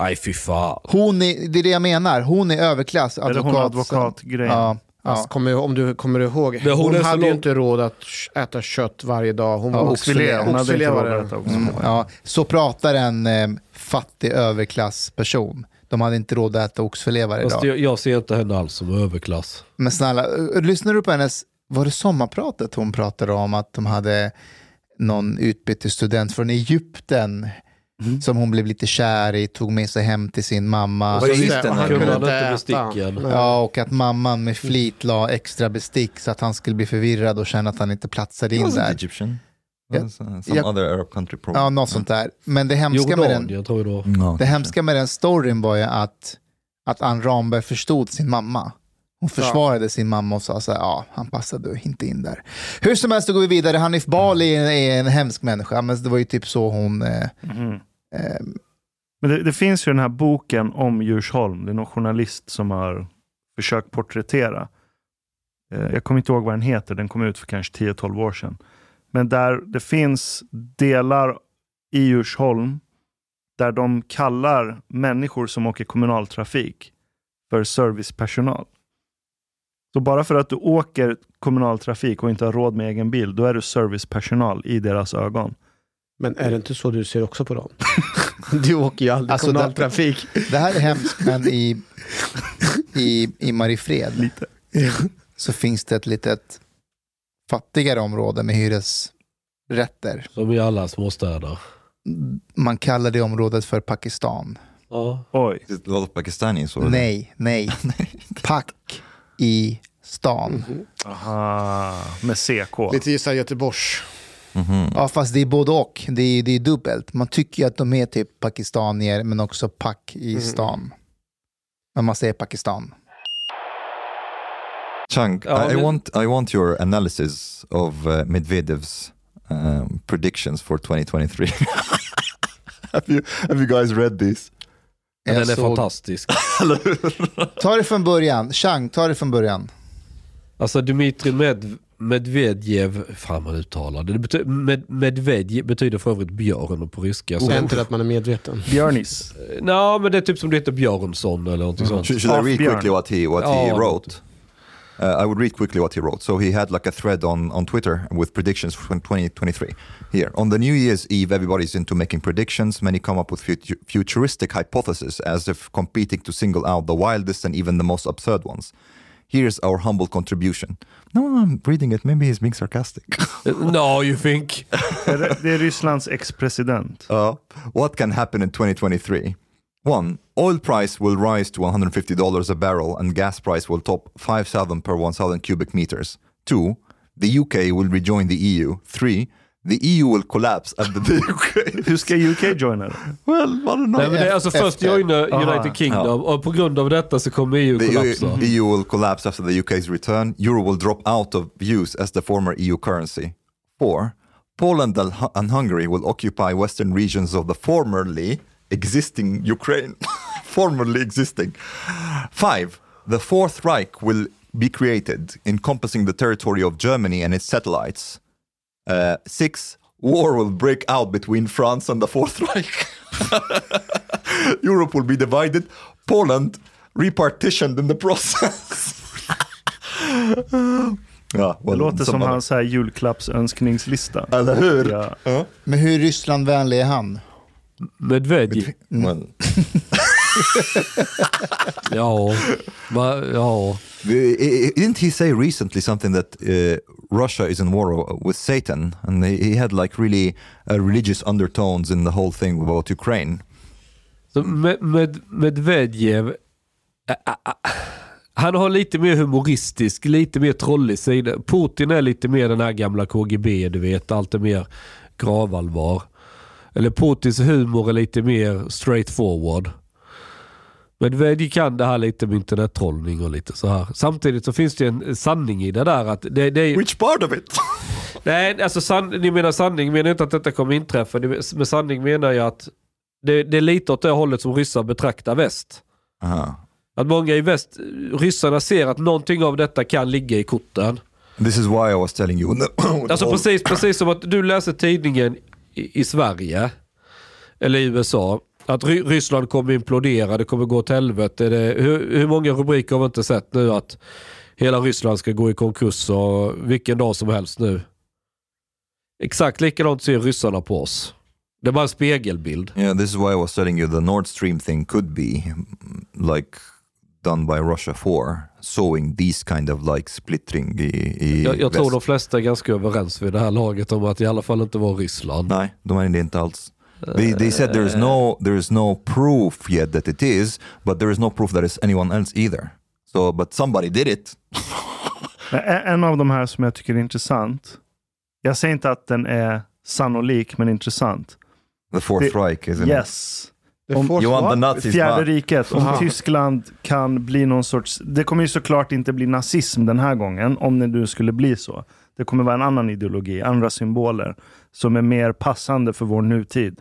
D: Nej, fy fan.
F: Hon är, det är det jag menar, hon är överklass.
C: Eller hon advokatgrejen.
F: Ja, ja.
G: Fast kommer, om du kommer ihåg,
D: Men
G: hon,
D: hon är så
G: hade
D: lång-
G: ju inte råd att äta kött varje dag. Hon
F: Ja,
G: var oxfilé.
C: Hon
F: oxfilé.
C: hade inte
G: Oxfilé var
C: råd
G: det.
C: att äta också.
F: Mm, ja. Så pratar en eh, fattig överklassperson. De hade inte råd att äta oxfilé varje
D: Fast
F: dag.
D: jag, jag ser inte henne alls som överklass.
F: Men snälla, ö- lyssnar du på hennes, var det sommarpratet hon pratade om att de hade någon utbytesstudent från Egypten
A: Mm.
F: som hon blev lite kär i, tog med sig hem till sin
A: Var
F: mamma.
A: det
G: Just det,
A: just den
G: och han
A: här?
G: kunde
D: Kunde
A: gången?
D: han inte
G: äta.
D: besticken?
G: Nej.
F: Ja, och att mamman med flit la extra bestick så att han skulle bli förvirrad och känna att han inte platsade in
A: Wasn't
F: där.
A: Egyptian.
F: Ja.
A: Yeah. Some
F: Ja.
A: other Arab country probably.
F: Ja, något sånt där. Men det hemska med den,
D: Jordanien tror jag det var.
A: Ja,
F: det
A: kanske.
F: hemska med den storyn var ju att, att Ann Ramberg förstod sin mamma. Hon försvarade sin mamma och sa så här, ja, han passade inte in där. Hur som helst, då går vi vidare. Hanif Bali är en, är en hemsk människa, men det var ju typ så hon... Eh,
C: Mm.
F: eh,
C: Men det, det finns ju den här boken om Djursholm. Det är någon journalist som har försökt porträttera. Eh, Jag kommer inte ihåg vad den heter. Den kom ut för kanske 10-12 år sedan. Men där det finns delar i Djursholm där de kallar människor som åker kommunaltrafik för servicepersonal. Så bara för att du åker kommunaltrafik och inte har råd med egen bil, då är du servicepersonal i deras ögon.
G: Men är det inte så du ser också på dem? du åker ju aldrig
F: Alltså,
G: kommunaltrafik.
F: det här är hemskt, men i, i, i Mariefred
C: Lite.
F: så finns det ett litet fattigare område med hyresrätter.
D: Som i alla småstäder.
F: Man kallar det området för Pakistan.
D: Ja.
C: Oj.
A: Is it A lot of Pakistanis. or-
F: Nej, nej. Pack i stan.
A: Mhm,
C: Aha, Ah, med CK.
G: Lite såhär Göteborgs.
A: Mhm.
F: Ja, fast det är både och. Det är, det är dubbelt. Man tycker ju att de är typ pakistanier, men också pack
A: mhm.
F: i stan. Men man säger Pakistan.
A: Chang,
D: Ja,
A: I, I
D: men-
A: want I want your analysis of uh, Medvedev's um, predictions for 2023. have you have you guys read this?
D: Den är
F: Jag såg-
D: fantastisk.
F: Ta det från början. Chang, ta det från början.
D: Alltså Dmitrij Med Medvedev, fan man uttalar det. det bety Med Medvedev betyder för övrigt björn på ryska. Så.
G: Det är inte det att man är medveten.
C: Björnis.
D: Nå, men det är typ som det heter Björnsson eller någonting sånt.
A: Should, should I
C: Off
A: read
C: Björn.
A: quickly what he what he
D: Oh.
A: wrote? Uh, I would read quickly what he wrote. So he had like a thread on, on Twitter with predictions for 2023. Here on the New Year's Eve, everybody's into making predictions. Many come up with futu- futuristic hypotheses, as if competing to single out the wildest and even the most absurd ones. Here's our humble contribution. No, I'm reading it. Maybe he's being sarcastic.
D: No you think.
C: Är det- Det är Rysslands ex-president.
A: Uh, what can happen in 2023? One, oil price will rise to $150 a barrel and gas price will top 5,000 per 1,000 cubic meters. Two, the UK will rejoin the EU. Three, the EU will collapse under the UK.
C: Hur ska UK joina det?
A: well, I don't know.
D: Nej, men det är alltså
F: Efter.
D: först joinar United
C: Aha.
D: Kingdom och på grund av detta så kommer EU
A: The E
D: kollapsa.
A: EU, EU will collapse after the UK's return. Euro will drop out of use as the former EU currency. Four, Poland and Hu- and Hungary will occupy western regions of the formerly existing Ukraine. formerly existing. Five, the Fourth Reich will be created, encompassing the territory of Germany and its satellites. Uh, six, war will break out between France and the Fourth Reich. Europe will be divided, Poland repartitioned in the process. ja,
C: Det
A: well,
C: låter som
A: some-
C: hans här julklappsönskningslista.
A: Eller hur?
C: Ja.
F: Men hur Rysslandvänlig är han?
D: Medvedev.
A: Well,
D: Ja. Va, ja.
A: i- i- didn't he say recently something that uh, Russia is in war with Satan? And he, he had like really uh, religious undertones in the whole thing about Ukraine.
D: Så med, med, Medvedev, ä- ä- ä- han har lite mer humoristisk, lite mer trollig sida. Putin är lite mer den här gamla KGB, du vet. Allt är mer gravallvar. Eller Putins humor är lite mer straightforward. Medvedev kan det här lite med internettrollning och lite så här. Samtidigt så finns det en sanning i det där. Att det, det är,
A: Which part of it?
D: Nej, alltså san, ni menar sanning menar inte att detta kommer inträffa. Det- Med sanning menar jag att det, det är lite åt det hållet som ryssar betraktar väst.
A: Aha.
D: Att många i väst, eh, ryssarna ser att någonting av detta kan ligga i korten.
A: This is why I was telling you.
D: Alltså precis, precis som att du läser tidningen i, i Sverige, eller i USA, Att Ry- Ryssland kommer implodera, det kommer gå åt helvete. Det, hur, hur många rubriker har vi inte sett nu att hela Ryssland ska gå i konkurs och vilken dag som helst nu. Exakt likadant ser ryssarna på oss. Det är bara en spegelbild.
A: Yeah, this is why I was telling you the Nord Stream thing could be mm, like done by Russia for sowing these kind of like eh, splittring i, i
D: Jag, jag tror de
A: väst.
D: flesta är ganska överens vid det här laget om att i alla fall inte var Ryssland.
A: Nej, de är det inte alls. They, they said there is no
D: Eh.
A: there is no proof yet that it is, but there is no proof that it's anyone else either. So, but somebody did it.
C: Men e- En av de här som jag tycker är intressant. Jag säger inte att den är sannolik, men intressant.
A: The Fourth
C: Det-
A: Reich, isn't it?
C: Yes.
E: The
C: Om-
E: fourth
A: You want the
E: one?
A: Nazis
C: Fjärde
A: back.
C: riket, om
E: Aha.
C: Tyskland kan bli någon sorts... Det kommer ju såklart inte bli nazism den här gången, om det nu skulle bli så. Det kommer vara en annan ideologi, andra symboler, som är mer passande för vår nutid.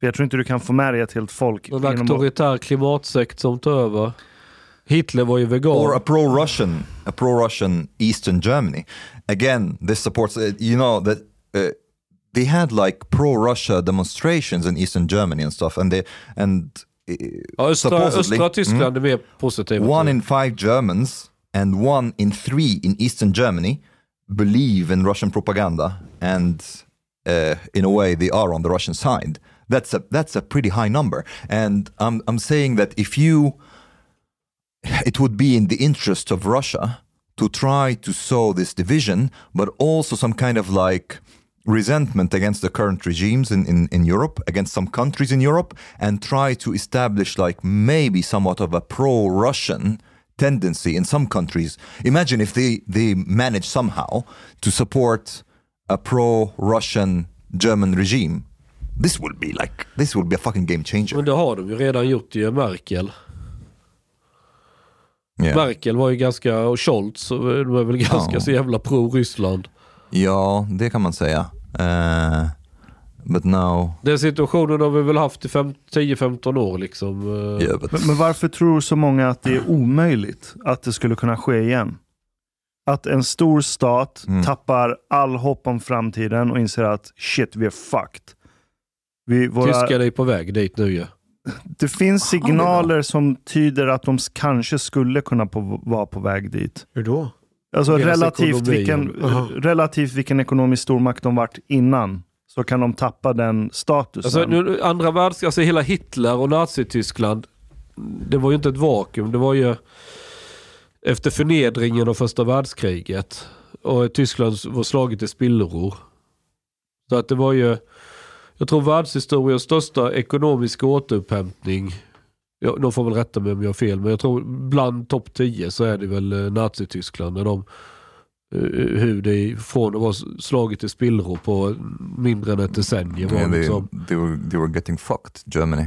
C: För jag tror inte du kan få med dig ett helt folk.
D: En
C: genom att-
D: auktoritär klimatsekt som tar över. Hitler var ju vegan.
A: or a pro-Russian, a pro-Russian Eastern Germany. Again, this supports. uh, You know that uh, they had like pro-Russia demonstrations in Eastern Germany and stuff, and they and uh,
D: ja, östra,
A: supposedly-
D: östra Tyskland är mer positiva.
A: Mm. one
D: till.
A: in five Germans and one in three in Eastern Germany believe in Russian propaganda, and uh, in a way, they are on the Russian side. That's a that's a pretty high number, and I'm I'm saying that if you, it would be in the interest of Russia to try to sow this division, but also some kind of like resentment against the current regimes in, in, in Europe, against some countries in Europe, and try to establish like maybe somewhat of a pro Russian tendency in some countries. Imagine if they, they manage somehow to support a pro Russian German regime. This will be like this will be a fucking game changer.
D: Men det har de ju redan gjort ju, Merkel.
A: Yeah.
D: Merkel var ju ganska, och Scholz, de är väl ganska
A: Ja.
D: så jävla pro-Ryssland.
A: Ja, det kan man säga. Eh, but now,
D: Den situationen har vi väl haft i fem- 10-15 år liksom. Eh,
A: yeah, but
C: Men, men varför tror så många att det är omöjligt att det skulle kunna ske igen? Att en stor stat
A: Mm.
C: tappar all hopp om framtiden och inser att shit, vi är fucked. Vi, våra,
D: Tyskarna är på väg dit nu ju.
C: det finns signaler som tyder att de s- kanske skulle kunna på, vara på väg dit.
E: Hur då?
C: Alltså
D: Deras
C: relativt
D: ekonomi,
C: vilken, eh,
E: aha.
C: relativt vilken ekonomisk stormakt de varit innan, så kan de tappa den statusen.
D: Alltså, nu, andra världskriget, alltså hela Hitler och Nazityskland, det var ju inte ett vakuum. Det var ju efter förnedringen av första världskriget och Tyskland var slaget i spillror. Så att det var ju, jag tror världshistoriens största ekonomiska återupphämtning, ja, de får väl rätta mig om jag har fel, men jag tror bland topp 10 så är det väl eh, Nazityskland. När de, eh, hur det från att vara slaget i spillror på mindre än ett decennium var
A: Yeah, they,
D: liksom,
A: they were they were getting fucked, Germany.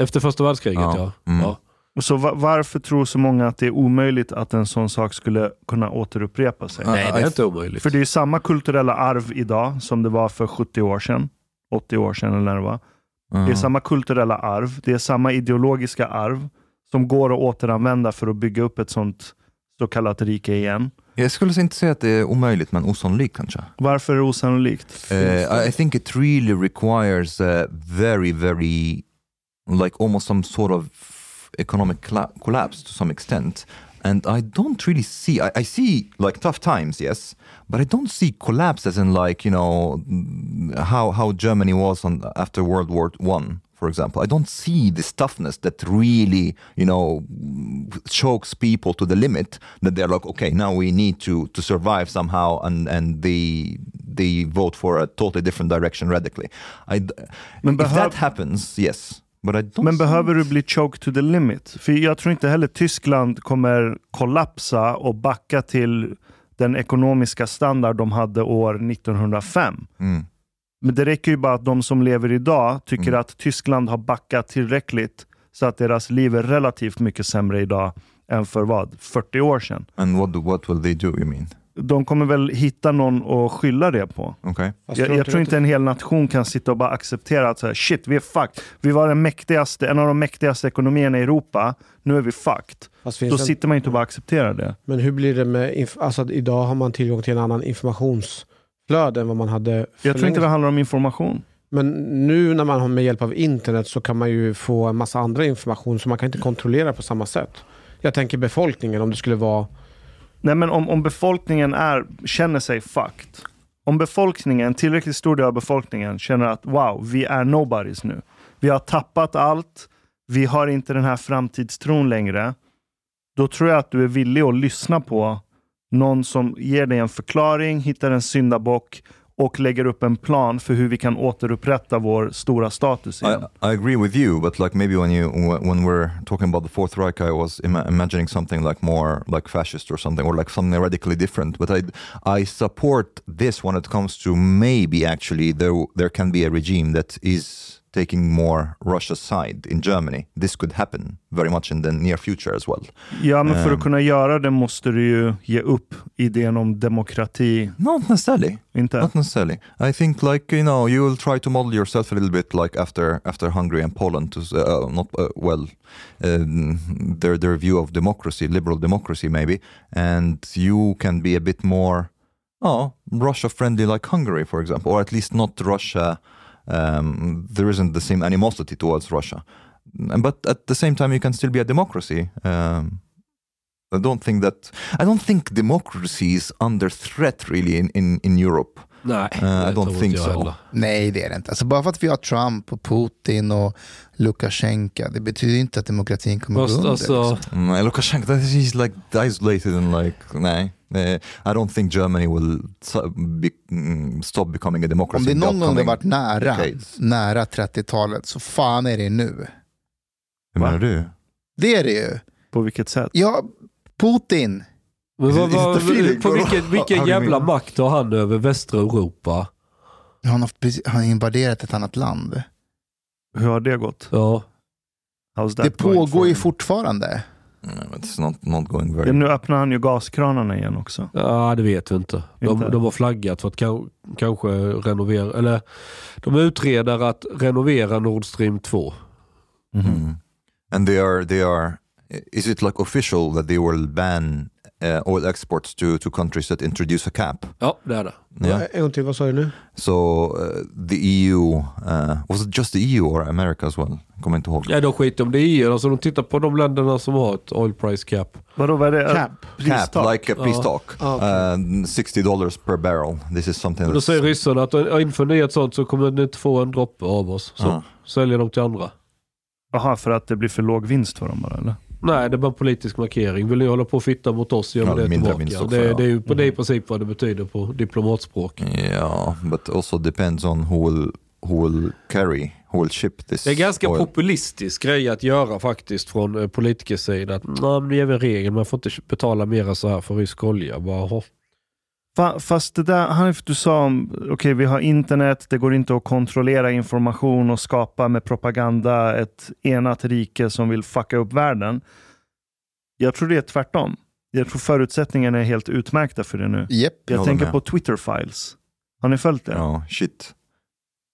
D: Efter första världskriget ja.
A: Ja. Mm.
D: ja.
C: Så va- varför tror så många att det är omöjligt att en sån sak skulle kunna återupprepa sig?
D: Nej, det
A: I-
D: är inte omöjligt.
C: För det är ju samma kulturella arv idag som det var för 70 år sedan, 80 år sedan eller när det var. Det är
A: Mm.
C: samma kulturella arv, det är samma ideologiska arv som går att återanvända för att bygga upp ett sånt så kallat rike igen.
A: Jag skulle inte säga att det är omöjligt, men osannolikt kanske.
C: Varför är det osannolikt?
A: Uh, I think it really requires a very, very, like almost some sort of economic colla- collapse to some extent. And I don't really see, I, I see like tough times, yes, but I don't see collapse as in like, you know, mm, how, how Germany was on, after World War One, for example. I don't see this toughness that really, you know, chokes people to the limit that they're like, okay, now we need to to survive somehow, and and they they vote for a totally different direction radically. I, d-
C: Men
A: if
C: behöv-
A: that happens, yes, but I don't.
C: Men
A: see-
C: behöver du bli choked to the limit? För jag tror inte heller Tyskland kommer kollapsa och backa till den ekonomiska standard de hade år 1905.
A: Mm.
C: Men det räcker ju bara att de som lever idag tycker
A: Mm.
C: att Tyskland har backat tillräckligt så att deras liv är relativt mycket sämre idag än för vad? 40 år sedan.
A: And what do, what will they do? You mean?
C: De kommer väl hitta någon att skylla det på.
A: Okay.
E: Fast
C: Jag, jag tror inte en hel nation kan sitta och bara acceptera att så här, shit, vi är fucked. Vi var den mäktigaste, en av de mäktigaste ekonomierna i Europa. Nu är vi fucked.
E: Fast
C: Då
E: finns det,
C: sitter man ju inte och bara accepterar det.
E: men hur blir det med... Inf- alltså att idag har man tillgång till en annan informationsflöde än vad man hade för
C: Jag tror
E: länge
C: inte det
E: sedan.
C: handlar om information.
G: Men nu när man har med hjälp av internet så kan man ju få en massa andra information som man kan inte kontrollera på samma sätt. Jag tänker befolkningen, om det skulle vara...
C: Nej, men om, om befolkningen är, känner sig fucked. Om befolkningen, en tillräckligt stor del av befolkningen känner att wow, vi är nobodies nu. Vi har tappat allt. Vi har inte den här framtidstron längre. Då tror jag att du är villig att lyssna på någon som ger dig en förklaring, hittar en syndabock och lägger upp en plan för hur vi kan återupprätta vår stora status igen.
A: I, I agree with you, but like maybe when you when we're talking about the Fourth Reich, I was ima- imagining something like more like fascist or something, or like something radically different. But I I support this when it comes to maybe actually there there can be a regime that is taking more Russia's side in Germany. This could happen very much in the near future as well.
C: Ja, men för
A: Ehm.
C: att kunna göra det måste du ju ge upp idén om demokrati.
A: Not necessarily.
C: Inte?
A: Not necessarily. I think like you know you will try to model yourself a little bit like after after Hungary and Poland to s- uh, not uh, well um, their their view of democracy, liberal democracy maybe, and you can be a bit more oh Russia friendly like Hungary for example, or at least not Russia. Um, there isn't the same animosity towards Russia, And- but at the same time you can still be a democracy. Um, I don't think that I don't think democracy is under threat really in in, in Europe.
D: Nej,
A: Uh,
D: det
A: I
D: tror
A: don't
D: inte
A: think
D: jag
A: so.
D: heller.
F: Nej, det är det inte. Alltså bara för att vi har Trump och Putin och Lukasjenko, det betyder inte att demokratin kommer att gå
D: Fast
F: under.
D: alltså,
F: liksom.
A: Mm, Lukashenko, that is- he's like isolated and like, nej. Eh, I don't think Germany will so- be, mm, stop becoming a democracy.
F: Om det
A: in the
F: någon gång det har
A: upcoming-
F: varit nära,
A: decades.
F: nära 30-talet, så fan är det nu.
A: Hur menar du?
F: Det är det ju.
C: På vilket sätt?
F: Ja, Putin.
D: men vad,
A: Is it
D: vad,
A: the feeling?
D: på vilken,
A: Vad-
D: vilken
A: vad du
D: jävla
A: menar?
D: makt har han över västra Europa?
F: Han har, precis- han har invaderat ett annat land.
C: Hur har det gått?
D: Ja.
C: How's that
F: Det
C: going
F: pågår
C: for
F: ju
C: you?
F: fortfarande.
A: Mm, It's not, not going
C: Ja,
A: very...
C: nu öppnar han ju gaskranarna igen också.
D: Ja, det vet vi inte. De,
C: Inte?
D: de har flaggat för att kan, kanske renovera, eller de utreder att renovera Nord Stream 2.
A: Mm. And they are, they are, is it like official that they will ban uh, oil exports to, to countries that introduce a cap?
D: Ja, det är det.
A: Yeah.
G: En gång till, vad sa du nu?
A: So uh, the EU, uh, was it just the EU or America as well? Jag kommer inte ihåg.
D: Ja, de skiter om det i EU. Alltså, de tittar på de länderna som har ett oil price cap.
C: Vadå, vad är det?
G: Cap.
C: Pristak?
A: Cap, like a pre-stock.
G: Ja,
A: Uh, 60 dollars per barrel. This is something
D: Då
A: that's...
D: säger ryssarna att "Ja, inför ni ett sånt så kommer ni inte få en droppe av oss. Så
A: Ja.
D: säljer de till andra.
C: Jaha, för att det blir för låg vinst för dem bara eller?
D: Nej, det är bara en politisk markering. Vill ni hålla på och fitta mot oss, gör
A: Ja,
D: vi det
A: mindre
D: tillbaka.
A: vinst också,
D: det,
A: ja. Mm.
D: det, är ju, det är i princip vad det betyder på diplomatspråk.
A: Yeah, but also depends on who will who will carry, who will ship this.
D: Det är ganska
A: oil.
D: populistisk grej att göra faktiskt från eh, politikers sida. Att "Nej, men det är väl regeln, man får inte betala mer än så här för rysk olja. Bara, "Jaha."
C: Fa- Fast det där, Hanif, du sa om, okej vi har internet, det går inte att kontrollera information och skapa med propaganda ett enat rike som vill fucka upp världen. Jag tror det är tvärtom. Jag tror förutsättningarna är helt utmärkta för det nu.
F: Japp.
C: Jag
A: håller
C: tänker
A: med.
C: på Twitter files. Har ni följt det?
A: Ja, shit.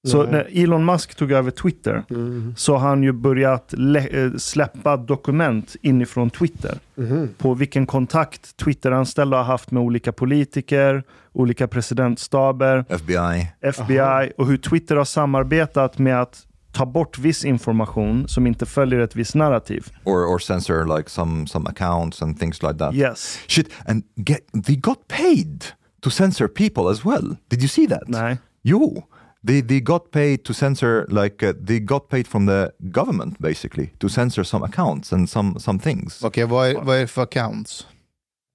C: Så
G: Nej.
C: när Elon Musk tog över Twitter
G: Mm.
C: så har han ju börjat lä- eh, släppa dokument inifrån Twitter
G: Mhm.
C: på vilken kontakt Twitteranställda har haft med olika politiker, olika presidentstaber,
A: FBI.
C: FBI och hur Twitter har samarbetat med att ta bort viss information som inte följer ett visst narrativ.
A: Or, or censor like some, some accounts and things like that.
C: Yes.
A: Shit, and get, they got paid to censor people as well. Did you see that?
C: Nej.
A: Jo. They, they got paid to censor, like uh, they got paid from the government basically to censor some accounts and some, some things.
F: Okej, vad, är, vad är det för accounts?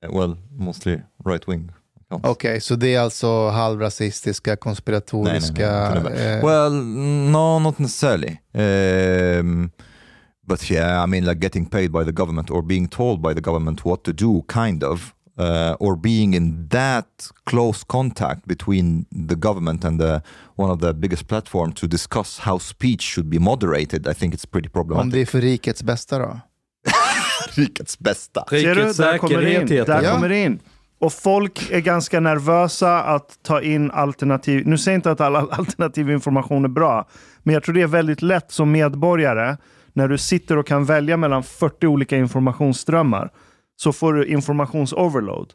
A: Uh, Well, mostly right wing accounts.
F: Okej, så det är alltså halvrasistiska,
A: Nej,
F: konspiratoriska...
A: nej, nej, inte
F: eh,
A: det. Well, no, not necessarily. Um, but yeah, I mean, like getting paid by the government or being told by the government what to do, kind of, uh, or being in that close contact between the government and the, one of the biggest platforms to discuss how speech should be moderated. I think it's pretty
F: om det
A: problematic.
F: är för rikets bästa då?
A: Rikets bästa.
C: Ser du?
D: Rikets
C: Där kommer det in.
D: säkerhet heter
C: Där
D: det.
F: Ja.
C: kommer det in. Och folk är ganska nervösa att ta in alternativ. Nu säger jag inte att all all alternativ information är bra, men jag tror det är väldigt lätt som medborgare, när du sitter och kan välja mellan 40 olika informationsströmmar, så får du informationsoverload.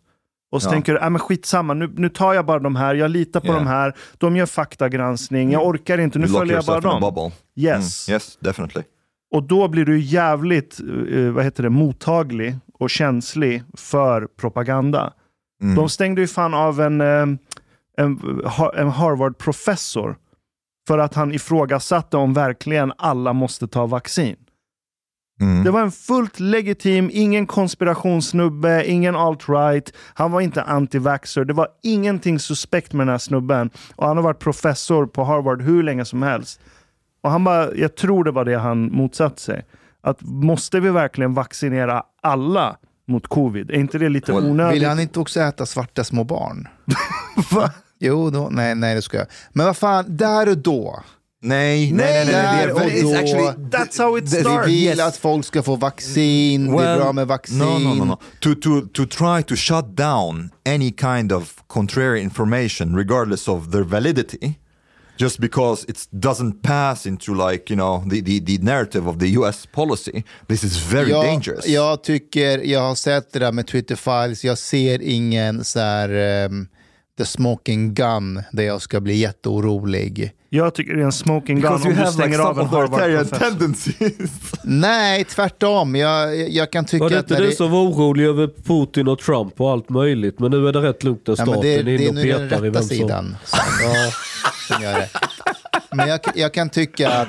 C: Och så
A: Ja.
C: tänker du, äh, men skitsamma, nu, nu tar jag bara de här, jag litar på
A: Yeah.
C: de här, de gör faktagranskning, jag orkar inte, nu
A: You lock
C: följer jag bara
A: yourself in a
C: dem.
A: bubble.
C: Yes.
A: Mm. Yes, definitely.
C: Och då blir du jävligt eh, vad heter det, mottaglig och känslig för propaganda.
A: Mm.
C: De stängde ju fan av en, eh, en, ha- en Harvard-professor för att han ifrågasatte om verkligen alla måste ta vaccin.
A: Mm.
C: Det var en fullt legitim, ingen konspirationssnubbe, ingen alt-right. Han var inte anti-vaxxer. Det var ingenting suspekt med den här snubben. Och han har varit professor på Harvard hur länge som helst. Och han bara, jag tror det var det han motsatte sig. Att måste vi verkligen vaccinera alla mot covid? Är inte det lite
A: Well,
C: onödigt?
F: Vill han inte också äta svarta små barn?
C: Va?
F: Jo, då, nej, nej, det ska jag. Men vad fan, där och då.
A: Nej, nej, nej, nej, nej.
F: Där
A: det är-
F: och
A: it's
F: då.
A: actually-
C: That's how it
A: det- det-
F: Vi
C: starts.
F: vill
A: Yes.
F: att folk ska få vaccin, det är bra med vaccin.
A: No, no, no, no. To, to, to try to shut down any kind of contrary information, regardless of their validity, just because it doesn't pass into like you know the, the, the narrative of the U.S. policy. This is very
F: Jag,
A: dangerous.
F: jag tycker, jag har sett det där med Twitter files, jag ser ingen så här ehm, the smoking gun där jag ska bli jätteorolig.
C: Jag tycker det är en smoking gun om
A: Because
C: du
A: you have like
C: stänger av
A: some
C: en
A: authoritarian
C: Harvard-professor.
A: tendencies.
F: Nej, tvärtom. Jag, jag kan tycka
D: Var det
F: att
D: inte
F: när
D: du som var orolig över Putin och Trump och allt möjligt? Men nu är det rätt lugnt när
F: Ja,
D: staten
F: men det, är-
D: är
F: det
D: inne
F: är
D: och
F: nu den
D: petar i
F: rätta
D: vem som...
F: sidan som, ja, som gör det. Men jag, jag kan tycka att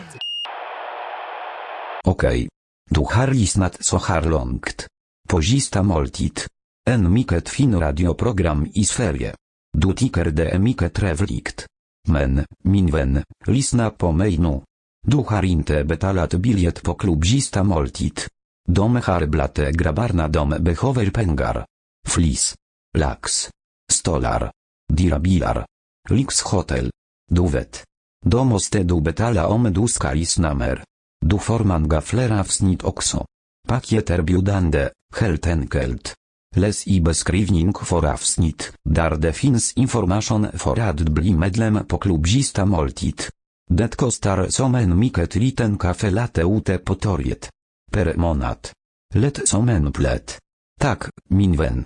I: Okej. Du har lyssnat så här långt. På sista måltid. En mycket fin radioprogram i Sverige. Du tycker det är mycket trevligt. Men, min vän, lyssna på mig nu. Du har inte betalat bilet på klubb sista måltid. De har blate grabarna dom behöver pengar. Flis. Lax. Stolar. Dirabilar. Lix hotel. Du vet. De måste du betala om du ska lyssna mer. Du forman gaflera wsnit okso. Pakieter biudande, heltenkelt. Les i beskrivning for avsnit, dar defins information for adbli medlem po klubzista moltit. Detko star somen miket liten kafe late ute potoriet. Per monat. Let somen plet. Tak, minwen.